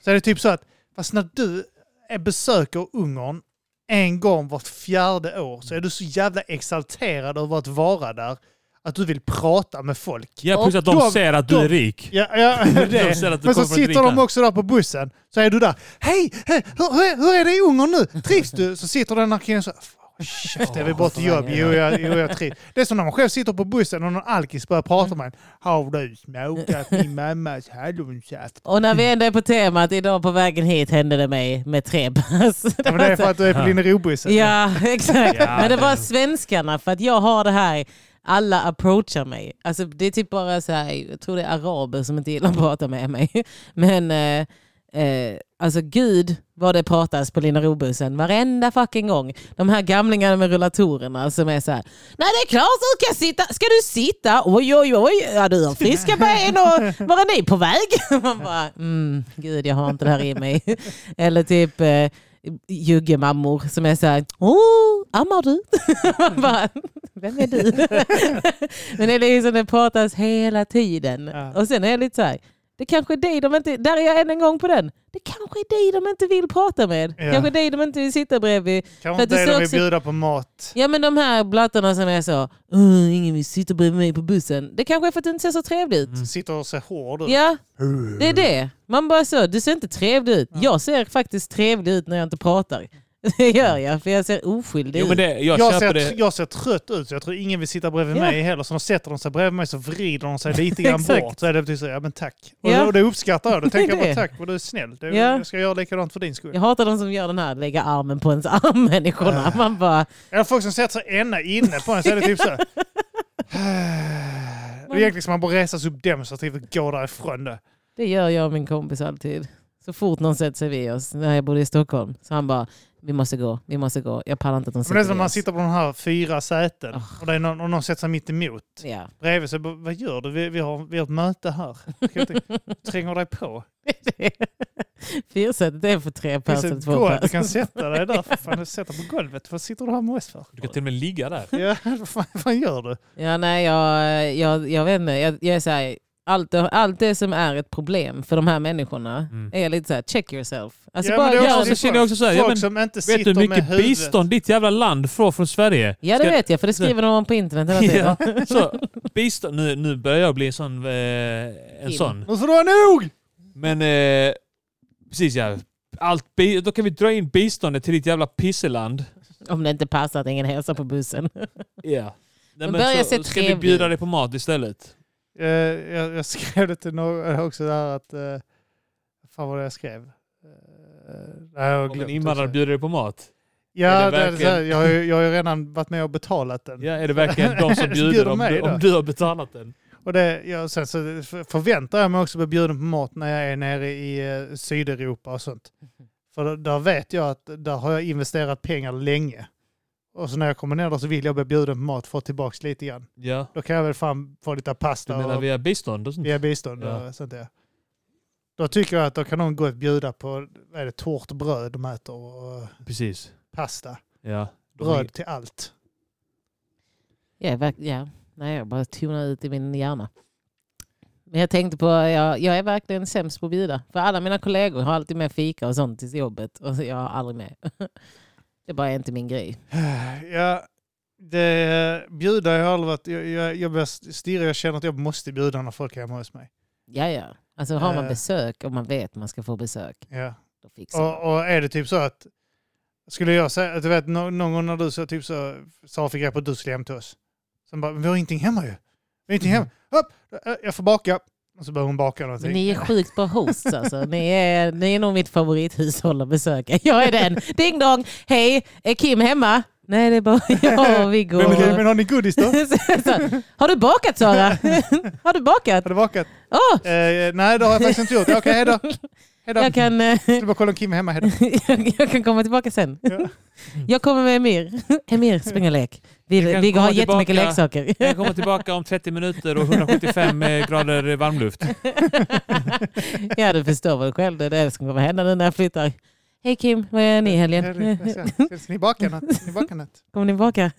Speaker 2: Så är det typ så att fast när du är- besöker Ungern en gång vart fjärde år så är du så jävla exalterad över att vara där att du vill prata med folk.
Speaker 3: Ja, plus att de
Speaker 2: De-
Speaker 3: ser att du
Speaker 2: de-
Speaker 3: är rik.
Speaker 2: Ja,
Speaker 3: <laughs>
Speaker 2: ja, det.
Speaker 3: De säger att du
Speaker 2: Men så
Speaker 3: kommer från ett
Speaker 2: sitter de
Speaker 3: rikland.
Speaker 2: också där på bussen. Så är du där. Hej, hej hur, hur, hur är det i Ungern nu? Trivs du? Så sitter den här killen så. "Fan, Käften, jag vill bara till jobb. Jo, jag, jo, jag trivs. Det är som när man själv sitter på bussen och någon alkis börjar prata med en. Har du smakat min mammas hallonsaft?
Speaker 1: Och när vi ändå är på temat, idag på vägen hit hände det mig med tre pass.
Speaker 2: Ja, men det är för att du är på Linnerobussen.
Speaker 1: Ja, exakt.
Speaker 3: Ja,
Speaker 1: Men det var
Speaker 3: det-
Speaker 1: svenskarna, för att jag har det här, alla approachar mig. Alltså, det är typ bara så här, jag tror det är araber som inte gillar att prata med mig. <laughs> Men eh, eh, alltså gud vad det pratas på Lina Robussen varenda fucking gång. De här gamlingarna med rullatorerna som är så här, nej det är klart du ska sitta, ska du sitta? Oj oj oj, ja, du har friska ben och var är ni på väg? <laughs> Man bara, mm, gud jag har inte det här i mig. <laughs> Eller typ eh, juggemammor som är så här, åh, ammar du? Man <laughs> bara, Vem
Speaker 2: <laughs>
Speaker 1: är du? Men det är liksom det pratas hela tiden.
Speaker 2: Ja.
Speaker 1: Och sen är jag lite så här, det kanske är dig de inte, där är jag än en gång på den, det kanske är dig de inte vill prata med.
Speaker 2: Ja.
Speaker 1: Kanske är dig de inte vill sitta bredvid.
Speaker 2: Kan
Speaker 1: För att
Speaker 2: inte
Speaker 1: det
Speaker 2: det de vill
Speaker 1: också-
Speaker 2: bjuda på mat?
Speaker 1: Ja men de här blattarna som är så, "Åh, ingen vill sitta bredvid mig på bussen. Det kanske är för att du inte ser så trevlig ut.
Speaker 2: Sitter och ser hård ut.
Speaker 1: Ja, det är det. Man bara så, du ser inte trevlig ut. Jag ser faktiskt trevlig ut när jag inte pratar. <laughs> Det gör jag, för jag ser oskyldig
Speaker 3: Jo, men
Speaker 1: ut.
Speaker 3: det, jag,
Speaker 2: Jag
Speaker 3: köper
Speaker 2: ser,
Speaker 3: det.
Speaker 2: jag ser trött ut så jag tror ingen vill sitta bredvid
Speaker 1: Ja.
Speaker 2: mig heller. Så de sätter de sig bredvid mig så vrider de sig lite grann
Speaker 1: <laughs> Exakt.
Speaker 2: bort. Så är det typ så, ja men tack. Och,
Speaker 1: Ja.
Speaker 2: då, och det uppskattar
Speaker 1: <laughs>
Speaker 2: jag. Då
Speaker 1: Det är
Speaker 2: tänker jag bara
Speaker 1: det.
Speaker 2: tack vad du är snäll. Det,
Speaker 1: Ja.
Speaker 2: Jag ska göra likadant för din skull.
Speaker 1: Jag hatar de som gör den här lägga armen på ens arm-människorna.
Speaker 2: Äh.
Speaker 1: Man bara,
Speaker 2: Eller folk som sätter sig ena inne på en så är det typ
Speaker 1: <laughs>
Speaker 2: så. Det är egentligen ska man bara resa sig upp demonstrativt och gå därifrån. Då.
Speaker 1: det gör jag och min kompis alltid. Så fort någon sätter sig vid oss, när jag bodde i Stockholm, så han bara, vi måste gå, vi måste gå. Jag pallar inte att de
Speaker 2: Men det är
Speaker 1: sitter
Speaker 2: som när
Speaker 1: vid
Speaker 2: man
Speaker 1: oss.
Speaker 2: sitter på de här fyra säten och, det är någon, och någon sätter sig mitt emot.
Speaker 1: Ah. Ja. <laughs>
Speaker 2: Bredvid så bara, vad gör du? Vi, vi, har, vi har ett möte här. Tränger dig på.
Speaker 1: Fyrsätet är för tre
Speaker 2: Det
Speaker 1: pers
Speaker 2: finns
Speaker 1: eller
Speaker 2: ett
Speaker 1: två
Speaker 2: golv. Du
Speaker 1: pers.
Speaker 2: kan sätta dig där. För fan, sätt dig på golvet. Vad sitter du här med oss för?
Speaker 3: Du kan till och med ligga där.
Speaker 2: Ja, <laughs> vad fan, vad fan gör du?
Speaker 3: Alltså,
Speaker 1: Ja, nej, jag, jag, jag vet inte. Jag, jag är så här, allt, allt det som är ett problem för de här människorna är lite så här, check yourself. Alltså
Speaker 2: Mm. Ja, men
Speaker 1: bara
Speaker 2: det är
Speaker 1: gör
Speaker 2: också
Speaker 1: det.
Speaker 3: så känner jag också så här, ja,
Speaker 2: Folk
Speaker 3: men
Speaker 2: som inte
Speaker 3: Vet du
Speaker 2: sitter
Speaker 3: hur
Speaker 2: med
Speaker 3: mycket
Speaker 2: huvudet.
Speaker 3: bistånd ditt jävla land får från Sverige?
Speaker 1: Ja, det
Speaker 3: Ska-
Speaker 1: vet jag, för det skriver de på internet
Speaker 2: <laughs>
Speaker 1: hela tiden.
Speaker 3: <laughs> Ja, så, bistånd, nu, nu börjar jag bli en sån. Eh, en
Speaker 1: Kim.
Speaker 3: sån.
Speaker 2: Nu får du ha nog!
Speaker 3: Men eh, precis ja. Allt, bi- då kan vi dra in biståndet till ditt jävla pisseland.
Speaker 1: Om det inte passar att ingen hälsar på bussen.
Speaker 3: Ja. Nej,
Speaker 1: Men börja
Speaker 3: så
Speaker 1: se
Speaker 3: ska vi
Speaker 1: trevlig
Speaker 3: bjuda
Speaker 1: ut.
Speaker 3: dig på mat istället.
Speaker 2: Eh, jag, jag skrev det till några också där att... Uh, fan vad det jag skrev? Uh, nej, jag har
Speaker 3: Om en
Speaker 2: glömt
Speaker 3: invandrare
Speaker 2: också.
Speaker 3: bjuder dig på mat.
Speaker 2: Ja,
Speaker 3: Är det
Speaker 2: det är så här,
Speaker 3: verkligen-
Speaker 2: jag, har ju, jag har ju redan varit med och betalat den.
Speaker 3: Ja, är det verkligen
Speaker 2: <laughs>
Speaker 3: de som
Speaker 2: Bjuder
Speaker 3: bjuder om,
Speaker 2: mig
Speaker 3: du,
Speaker 2: då?
Speaker 3: om du har betalat den?
Speaker 2: Och det, jag, sen så f- förväntar jag mig också bli bjuden på mat när jag är nere i eh, Sydeuropa och
Speaker 3: <laughs>
Speaker 2: sånt. För då- där vet jag att där har jag investerat pengar länge. Och så när jag kommer ner där så vill jag bli bjuden på mat, få tillbaka lite grann.
Speaker 3: Ja.
Speaker 2: Då kan jag väl fan få lite
Speaker 3: Du
Speaker 2: pasta
Speaker 3: menar
Speaker 2: och
Speaker 3: via bistånd och sånt?
Speaker 2: via bistånd
Speaker 3: Ja.
Speaker 2: och sånt där. Då tycker jag att då kan någon gå och bjuda på vad är det, torrt bröd de äter och
Speaker 3: Precis.
Speaker 2: pasta.
Speaker 3: Ja. De har
Speaker 2: Bröd till allt.
Speaker 1: Ja, verk- ja. Nej, jag bara tonar ut i min hjärna. Men jag tänkte på, jag, jag är verkligen sämst på att bjuda. För alla mina kollegor har alltid med fika och sånt till jobbet. Och så jag har aldrig med. <laughs> Det bara är inte min grej.
Speaker 2: Ja, det eh, bjuda jag har aldrig varit. Jag, jag, jag börjar stirra, jag känner att jag måste bjuda när folk är hemma hos mig.
Speaker 1: Ja, ja. Alltså har man
Speaker 2: Eh.
Speaker 1: besök och man vet att man ska få besök,
Speaker 2: Ja.
Speaker 1: då fixar man.
Speaker 2: Och, och är det typ så att, skulle jag säga, att du vet nå- någon gång när du så, typ så, sa fick jag på att du skulle hem till oss. Sen bara, vi har ingenting hemma ju. Vi har ingenting hemma. Hopp, eh, jag får baka. Och så börjar hon baka någonting.
Speaker 1: Mm. Men ni är sjukt bra hosts alltså. Ni är, <laughs> ni är nog mitt favorithushåll att besöka. Jag är den. Ding dong! Hej! Är Kim hemma? Nej, det är bara <laughs> jag och Viggo.
Speaker 2: Men,
Speaker 1: och-
Speaker 2: men har ni godis då?
Speaker 1: <laughs> Så, har du bakat Sara? har du bakat?
Speaker 2: Har du vakat?
Speaker 1: Åh,
Speaker 2: Eh, nej, det har jag faktiskt inte gjort. Okej, hejdå. Hejdå.
Speaker 1: jag, kan,
Speaker 3: <laughs>
Speaker 1: eh,
Speaker 2: Jag skulle bara kolla om Kim är hemma. Hejdå.
Speaker 1: jag, jag kan komma tillbaka sen.
Speaker 2: Ja.
Speaker 1: Jag kommer med Emir. Emir, spring och lek.
Speaker 3: Jag
Speaker 1: Vi,
Speaker 3: kan
Speaker 1: Viggo har
Speaker 3: komma
Speaker 1: jättemycket
Speaker 3: tillbaka.
Speaker 1: leksaker.
Speaker 3: Jag kommer tillbaka om 30 minuter och
Speaker 2: <laughs>
Speaker 3: 175 grader varmluft.
Speaker 1: <laughs> ja, du förstår väl själv. Det är det som kommer hända nu när jag flyttar. Hej Kim, vad gör ni i helgen?
Speaker 2: Hejdå. Ska- Ska ni baka något? Ska ni baka något?
Speaker 1: <laughs> Kommer ni baka?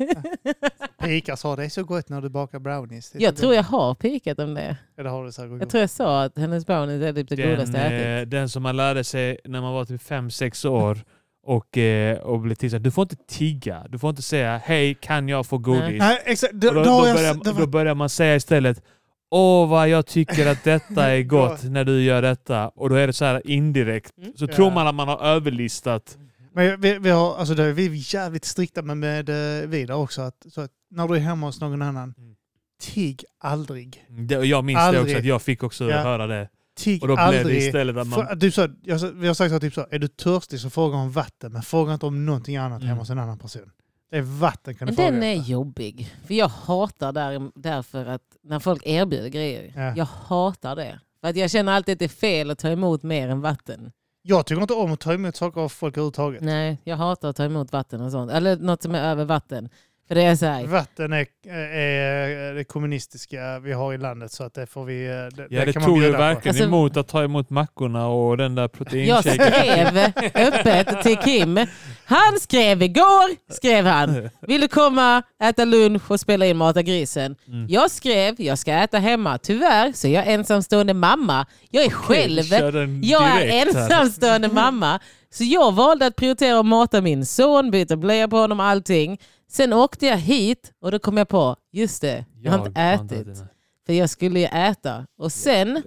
Speaker 2: Pika sa det är så gott när du bakar brownies. Det är
Speaker 1: Jag
Speaker 2: så
Speaker 1: tror
Speaker 2: gott.
Speaker 1: jag har pikat om det.
Speaker 2: Eller har du så här gott?
Speaker 1: Jag tror jag sa att hennes brownies är typ det godaste jag ätit.
Speaker 3: Den, den som man lärde sig när man var typ 5-6 år och, eh, och blev tillsagd. Du får inte tigga. Du får inte säga hej, kan jag få godis?
Speaker 2: Nej, exakt. Då,
Speaker 3: Och Då,
Speaker 2: då
Speaker 3: då,
Speaker 2: har jag, det
Speaker 3: börjar,
Speaker 2: var-
Speaker 3: då börjar man säga istället Åh vad jag tycker
Speaker 2: <laughs>
Speaker 3: att detta är gott när du gör detta. Och då är det så här indirekt. Så
Speaker 2: Mm. Ja.
Speaker 3: tror man att man har överlistat.
Speaker 2: Men vi, vi har, alltså det är vi jävligt strikta med, med eh, vi där också. Att, så att när du är hemma hos någon annan,
Speaker 3: Mm.
Speaker 2: tig aldrig.
Speaker 3: Det, och jag minns det
Speaker 2: Aldrig.
Speaker 3: också, att jag fick också
Speaker 2: Ja.
Speaker 3: höra det.
Speaker 2: Tig
Speaker 3: Och då blev
Speaker 2: aldrig.
Speaker 3: det istället att man...
Speaker 2: För- typ så, jag, sa- vi har sagt så, här, typ så, är du törstig så fråga om vatten, men fråga inte om någonting annat
Speaker 3: Mm.
Speaker 2: hemma hos en annan person. Det är vatten kan du
Speaker 1: Men
Speaker 2: fråga.
Speaker 1: den är
Speaker 2: efter.
Speaker 1: jobbig. För jag hatar där, därför att när folk erbjuder grejer.
Speaker 2: Ja.
Speaker 1: Jag hatar det. För att jag känner alltid att det är fel att ta emot mer än vatten.
Speaker 2: Jag tycker inte om att ta emot saker av folk överhuvudtaget.
Speaker 1: Nej, jag hatar att ta emot vatten och sånt. Eller något som är över vatten. För det är så här.
Speaker 2: Vatten är, är det kommunistiska vi har i landet så att det får vi... eh, Det,
Speaker 3: Ja, det
Speaker 2: kan man
Speaker 3: tog ju
Speaker 2: bjuda på.
Speaker 3: verkligen
Speaker 1: Alltså-
Speaker 3: emot att ta emot mackorna och den där
Speaker 1: Jag
Speaker 3: proteinshaken.
Speaker 1: skrev öppet till Kim. Han skrev igår, skrev han. Vill du komma, äta lunch och spela in Mata grisen?
Speaker 3: Mm.
Speaker 1: Jag skrev, jag ska äta hemma. Tyvärr så är jag ensamstående mamma. Jag är själv.
Speaker 3: kör den
Speaker 1: Jag är
Speaker 3: direkt här.
Speaker 1: ensamstående mamma. Så jag valde att prioritera att mata min son, byta blöja på honom, allting. Sen åkte jag hit och då kom jag på, just det, jag har inte
Speaker 3: har inte
Speaker 1: ätit. För jag skulle ju äta. Och sen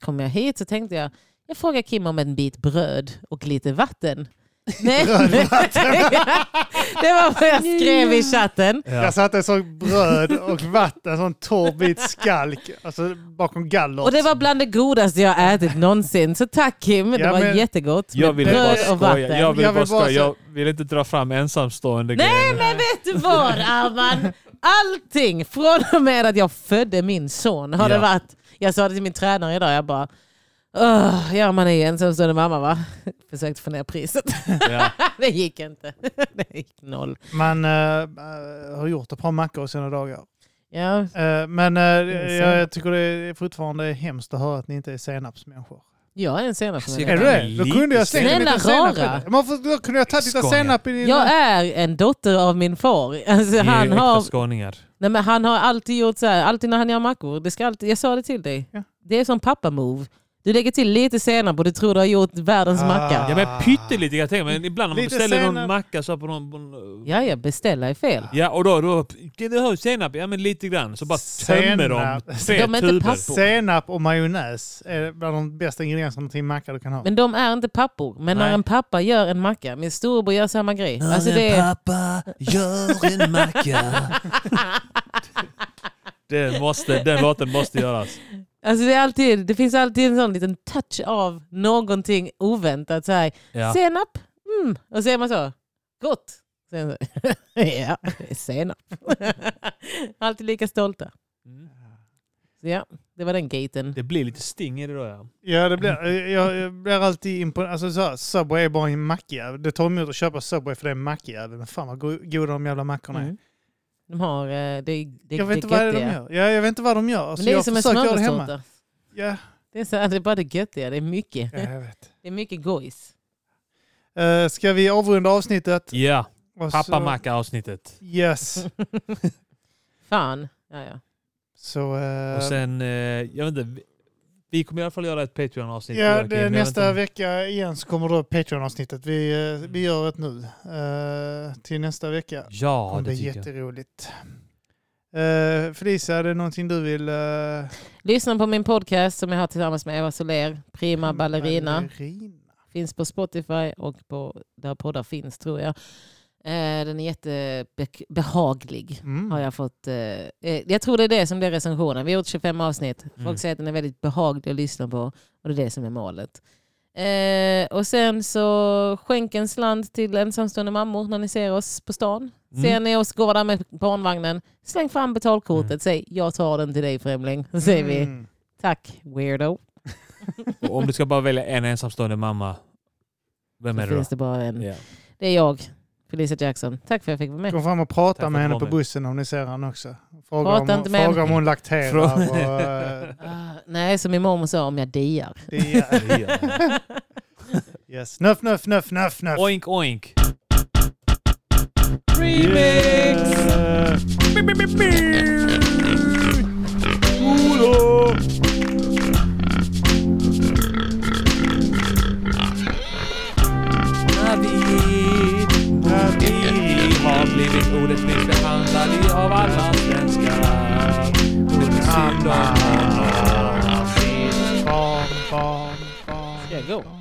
Speaker 1: kom jag hit så tänkte jag, jag frågar Kim om en bit bröd och
Speaker 2: <laughs>
Speaker 1: lite vatten. Nej. <laughs> det var vad jag skrev i chatten.
Speaker 2: Jag satte en sån bröd och vatten, en sån torr bit skalk alltså, bakom gallret.
Speaker 1: Och det var bland det godaste jag ätit någonsin. Så tack Kim, det
Speaker 2: Ja,
Speaker 1: var
Speaker 2: men-
Speaker 1: jättegott.
Speaker 3: Jag
Speaker 1: med
Speaker 3: ville bara
Speaker 1: bröd och
Speaker 3: skoja.
Speaker 1: vatten.
Speaker 3: Jag ville
Speaker 2: Jag vill
Speaker 3: bara
Speaker 2: bara
Speaker 3: skoja.
Speaker 2: säga-
Speaker 3: Jag vill inte dra fram ensamstående
Speaker 1: Nej
Speaker 3: grejer.
Speaker 1: men vet du vad Arman? Allting från och med att jag födde min son har det
Speaker 3: Ja.
Speaker 1: varit. Jag sa det till min tränare idag, jag bara "Åh, ja man är ju ensamstående mamma va? <laughs> Försökte få ner priset.
Speaker 3: Ja.
Speaker 1: <laughs> det gick inte. <laughs> Det gick noll.
Speaker 2: Man eh, eh, har gjort ett par mackor sina dagar.
Speaker 1: Ja,
Speaker 2: Eh, men eh,
Speaker 1: är
Speaker 2: jag, jag tycker det är fortfarande hemskt att höra att ni inte är senapsmänniskor.
Speaker 1: jag är en senare för
Speaker 2: Är
Speaker 1: mig.
Speaker 2: du det? Då kunde jag slänga
Speaker 1: Snälla
Speaker 2: lite senap. i
Speaker 1: rara.
Speaker 2: det. Man får, då kunde jag tagit lite
Speaker 3: Skånga.
Speaker 2: senap i din...
Speaker 1: Jag är en dotter av min far. <laughs> Alltså,
Speaker 3: Ni är
Speaker 1: han,
Speaker 3: äkta
Speaker 1: har,
Speaker 3: skåningar.
Speaker 1: nej, men han har alltid gjort så här, alltid när han gör mackor, det ska alltid, jag sa det till dig.
Speaker 2: Ja.
Speaker 1: Det är som pappa-move. Du lägger till lite senap och du tror du har gjort världens
Speaker 2: Ah.
Speaker 1: macka.
Speaker 3: Ja men pyttelite kan jag tänka mig. Men Ibland när man
Speaker 2: Lite
Speaker 3: beställer någon
Speaker 2: senap.
Speaker 3: macka så på någon... På någon
Speaker 1: Ja, ja, beställa är fel.
Speaker 3: ja och då... då kan du ha senap? Ja men lite grann. Så bara tömmer de
Speaker 2: Senap.
Speaker 3: tre
Speaker 1: De är inte
Speaker 3: tuber.
Speaker 1: pass-
Speaker 2: Senap och majonnäs är bland de bästa ingredienserna till en macka du kan ha.
Speaker 1: Men de är inte pappor. Men när
Speaker 3: Nej.
Speaker 1: en pappa gör en macka, min storebror gör samma grej. Alltså det är,
Speaker 3: pappa gör
Speaker 1: <laughs>
Speaker 3: en macka. det måste, den låten måste göras.
Speaker 1: alltså det, är alltid, det finns alltid en sån liten touch av någonting oväntat. Så här,
Speaker 3: Ja.
Speaker 1: Senap, mm. och så är man så, gott. Sen så, <laughs> ja, det är senap. <laughs> alltid lika stolta.
Speaker 3: Mm.
Speaker 1: Så ja, det var den gaten.
Speaker 3: Det blir lite sting i det då ja.
Speaker 2: Ja, det blir, jag, jag blir alltid imponerad. Alltså, så här, Subway är bara en mackjävel. Det tar emot att köpa Subway för det är en mackjävel. Men fan vad go- goda de jävla mackorna är.
Speaker 1: Mm. De har, eh, det, det,
Speaker 2: Jag vet
Speaker 1: det
Speaker 2: inte vad det är de
Speaker 1: göttiga.
Speaker 2: gör. Ja, jag vet inte vad de gör. Alltså,
Speaker 1: Men det är
Speaker 2: jag
Speaker 1: som en
Speaker 2: försöker göra det hemma.
Speaker 1: smörgåstårta.
Speaker 2: Ja,
Speaker 1: Det är, så här, det är bara det göttiga, det är mycket.
Speaker 2: ja, jag
Speaker 1: <laughs>
Speaker 2: vet.
Speaker 1: Det är mycket gojs.
Speaker 2: Eh, ska vi avrunda avsnittet?
Speaker 3: Ja,
Speaker 2: Och så-
Speaker 3: pappamacka avsnittet.
Speaker 2: Yes.
Speaker 1: Fan. Ja, ja.
Speaker 2: Så, eh,
Speaker 3: Och sen, eh, jag vet inte. vi- Vi kommer i alla fall göra ett Patreon-avsnitt.
Speaker 2: ja,
Speaker 3: Joakim.
Speaker 2: det,
Speaker 3: Jag vet
Speaker 2: nästa
Speaker 3: inte-
Speaker 2: vecka igen så kommer då Patreon-avsnittet. Vi, eh, vi gör ett nu. Eh, till nästa vecka.
Speaker 3: Ja,
Speaker 2: kommer
Speaker 3: det
Speaker 2: bli
Speaker 3: tycker jag.
Speaker 2: jätteroligt. Uh, Felicia, är det någonting du vill... eh,
Speaker 1: Lyssna på min podcast som jag har tillsammans med Eva Soler, Prima Ballerina. Mm.
Speaker 2: ballerina.
Speaker 1: Finns på Spotify och på där poddar finns tror jag. Eh, Den är jättebehaglig.
Speaker 2: Mm.
Speaker 1: Har jag, fått, eh, eh, jag tror det är det som blir recensionen. Vi har gjort 25 avsnitt. Folk
Speaker 3: Mm.
Speaker 1: säger att den är väldigt behaglig att lyssna på och det är det som är målet. Eh, och sen så skänk en slant till ensamstående mammor när ni ser oss på stan.
Speaker 3: Mm.
Speaker 1: Ser ni oss gå där med barnvagnen, släng fram betalkortet.
Speaker 3: Mm.
Speaker 1: Säg jag tar den till dig främling. Så säger vi
Speaker 2: Mm.
Speaker 1: tack weirdo.
Speaker 3: Och om du ska bara välja en ensamstående mamma, vem
Speaker 1: Så
Speaker 3: är det då?
Speaker 1: finns det bara en.
Speaker 3: Ja.
Speaker 1: Det är jag, Felicia Jackson. Tack för att jag fick vara med.
Speaker 2: Gå fram och
Speaker 3: Tack för
Speaker 2: prata med
Speaker 3: att
Speaker 2: henne
Speaker 3: du
Speaker 2: på
Speaker 3: var med.
Speaker 2: bussen om ni ser henne också. Fråga,
Speaker 1: Prata
Speaker 2: om,
Speaker 1: inte med
Speaker 2: fråga om
Speaker 1: henne.
Speaker 2: hon lakterar.
Speaker 3: Fråga-
Speaker 2: Och, eh,
Speaker 1: Ah, nej, som min mormor sa, om jag diar.
Speaker 2: det är, yes. Nuff, nuff, nuff, nuff, nuff.
Speaker 3: oink oink.
Speaker 2: Eh,
Speaker 3: Navid, Navid har blivit orättvist behandlad av alla svenskar. Det är
Speaker 2: Ah.
Speaker 3: synd om honom.
Speaker 2: Barn, barn, barn.
Speaker 1: Ska jag gå?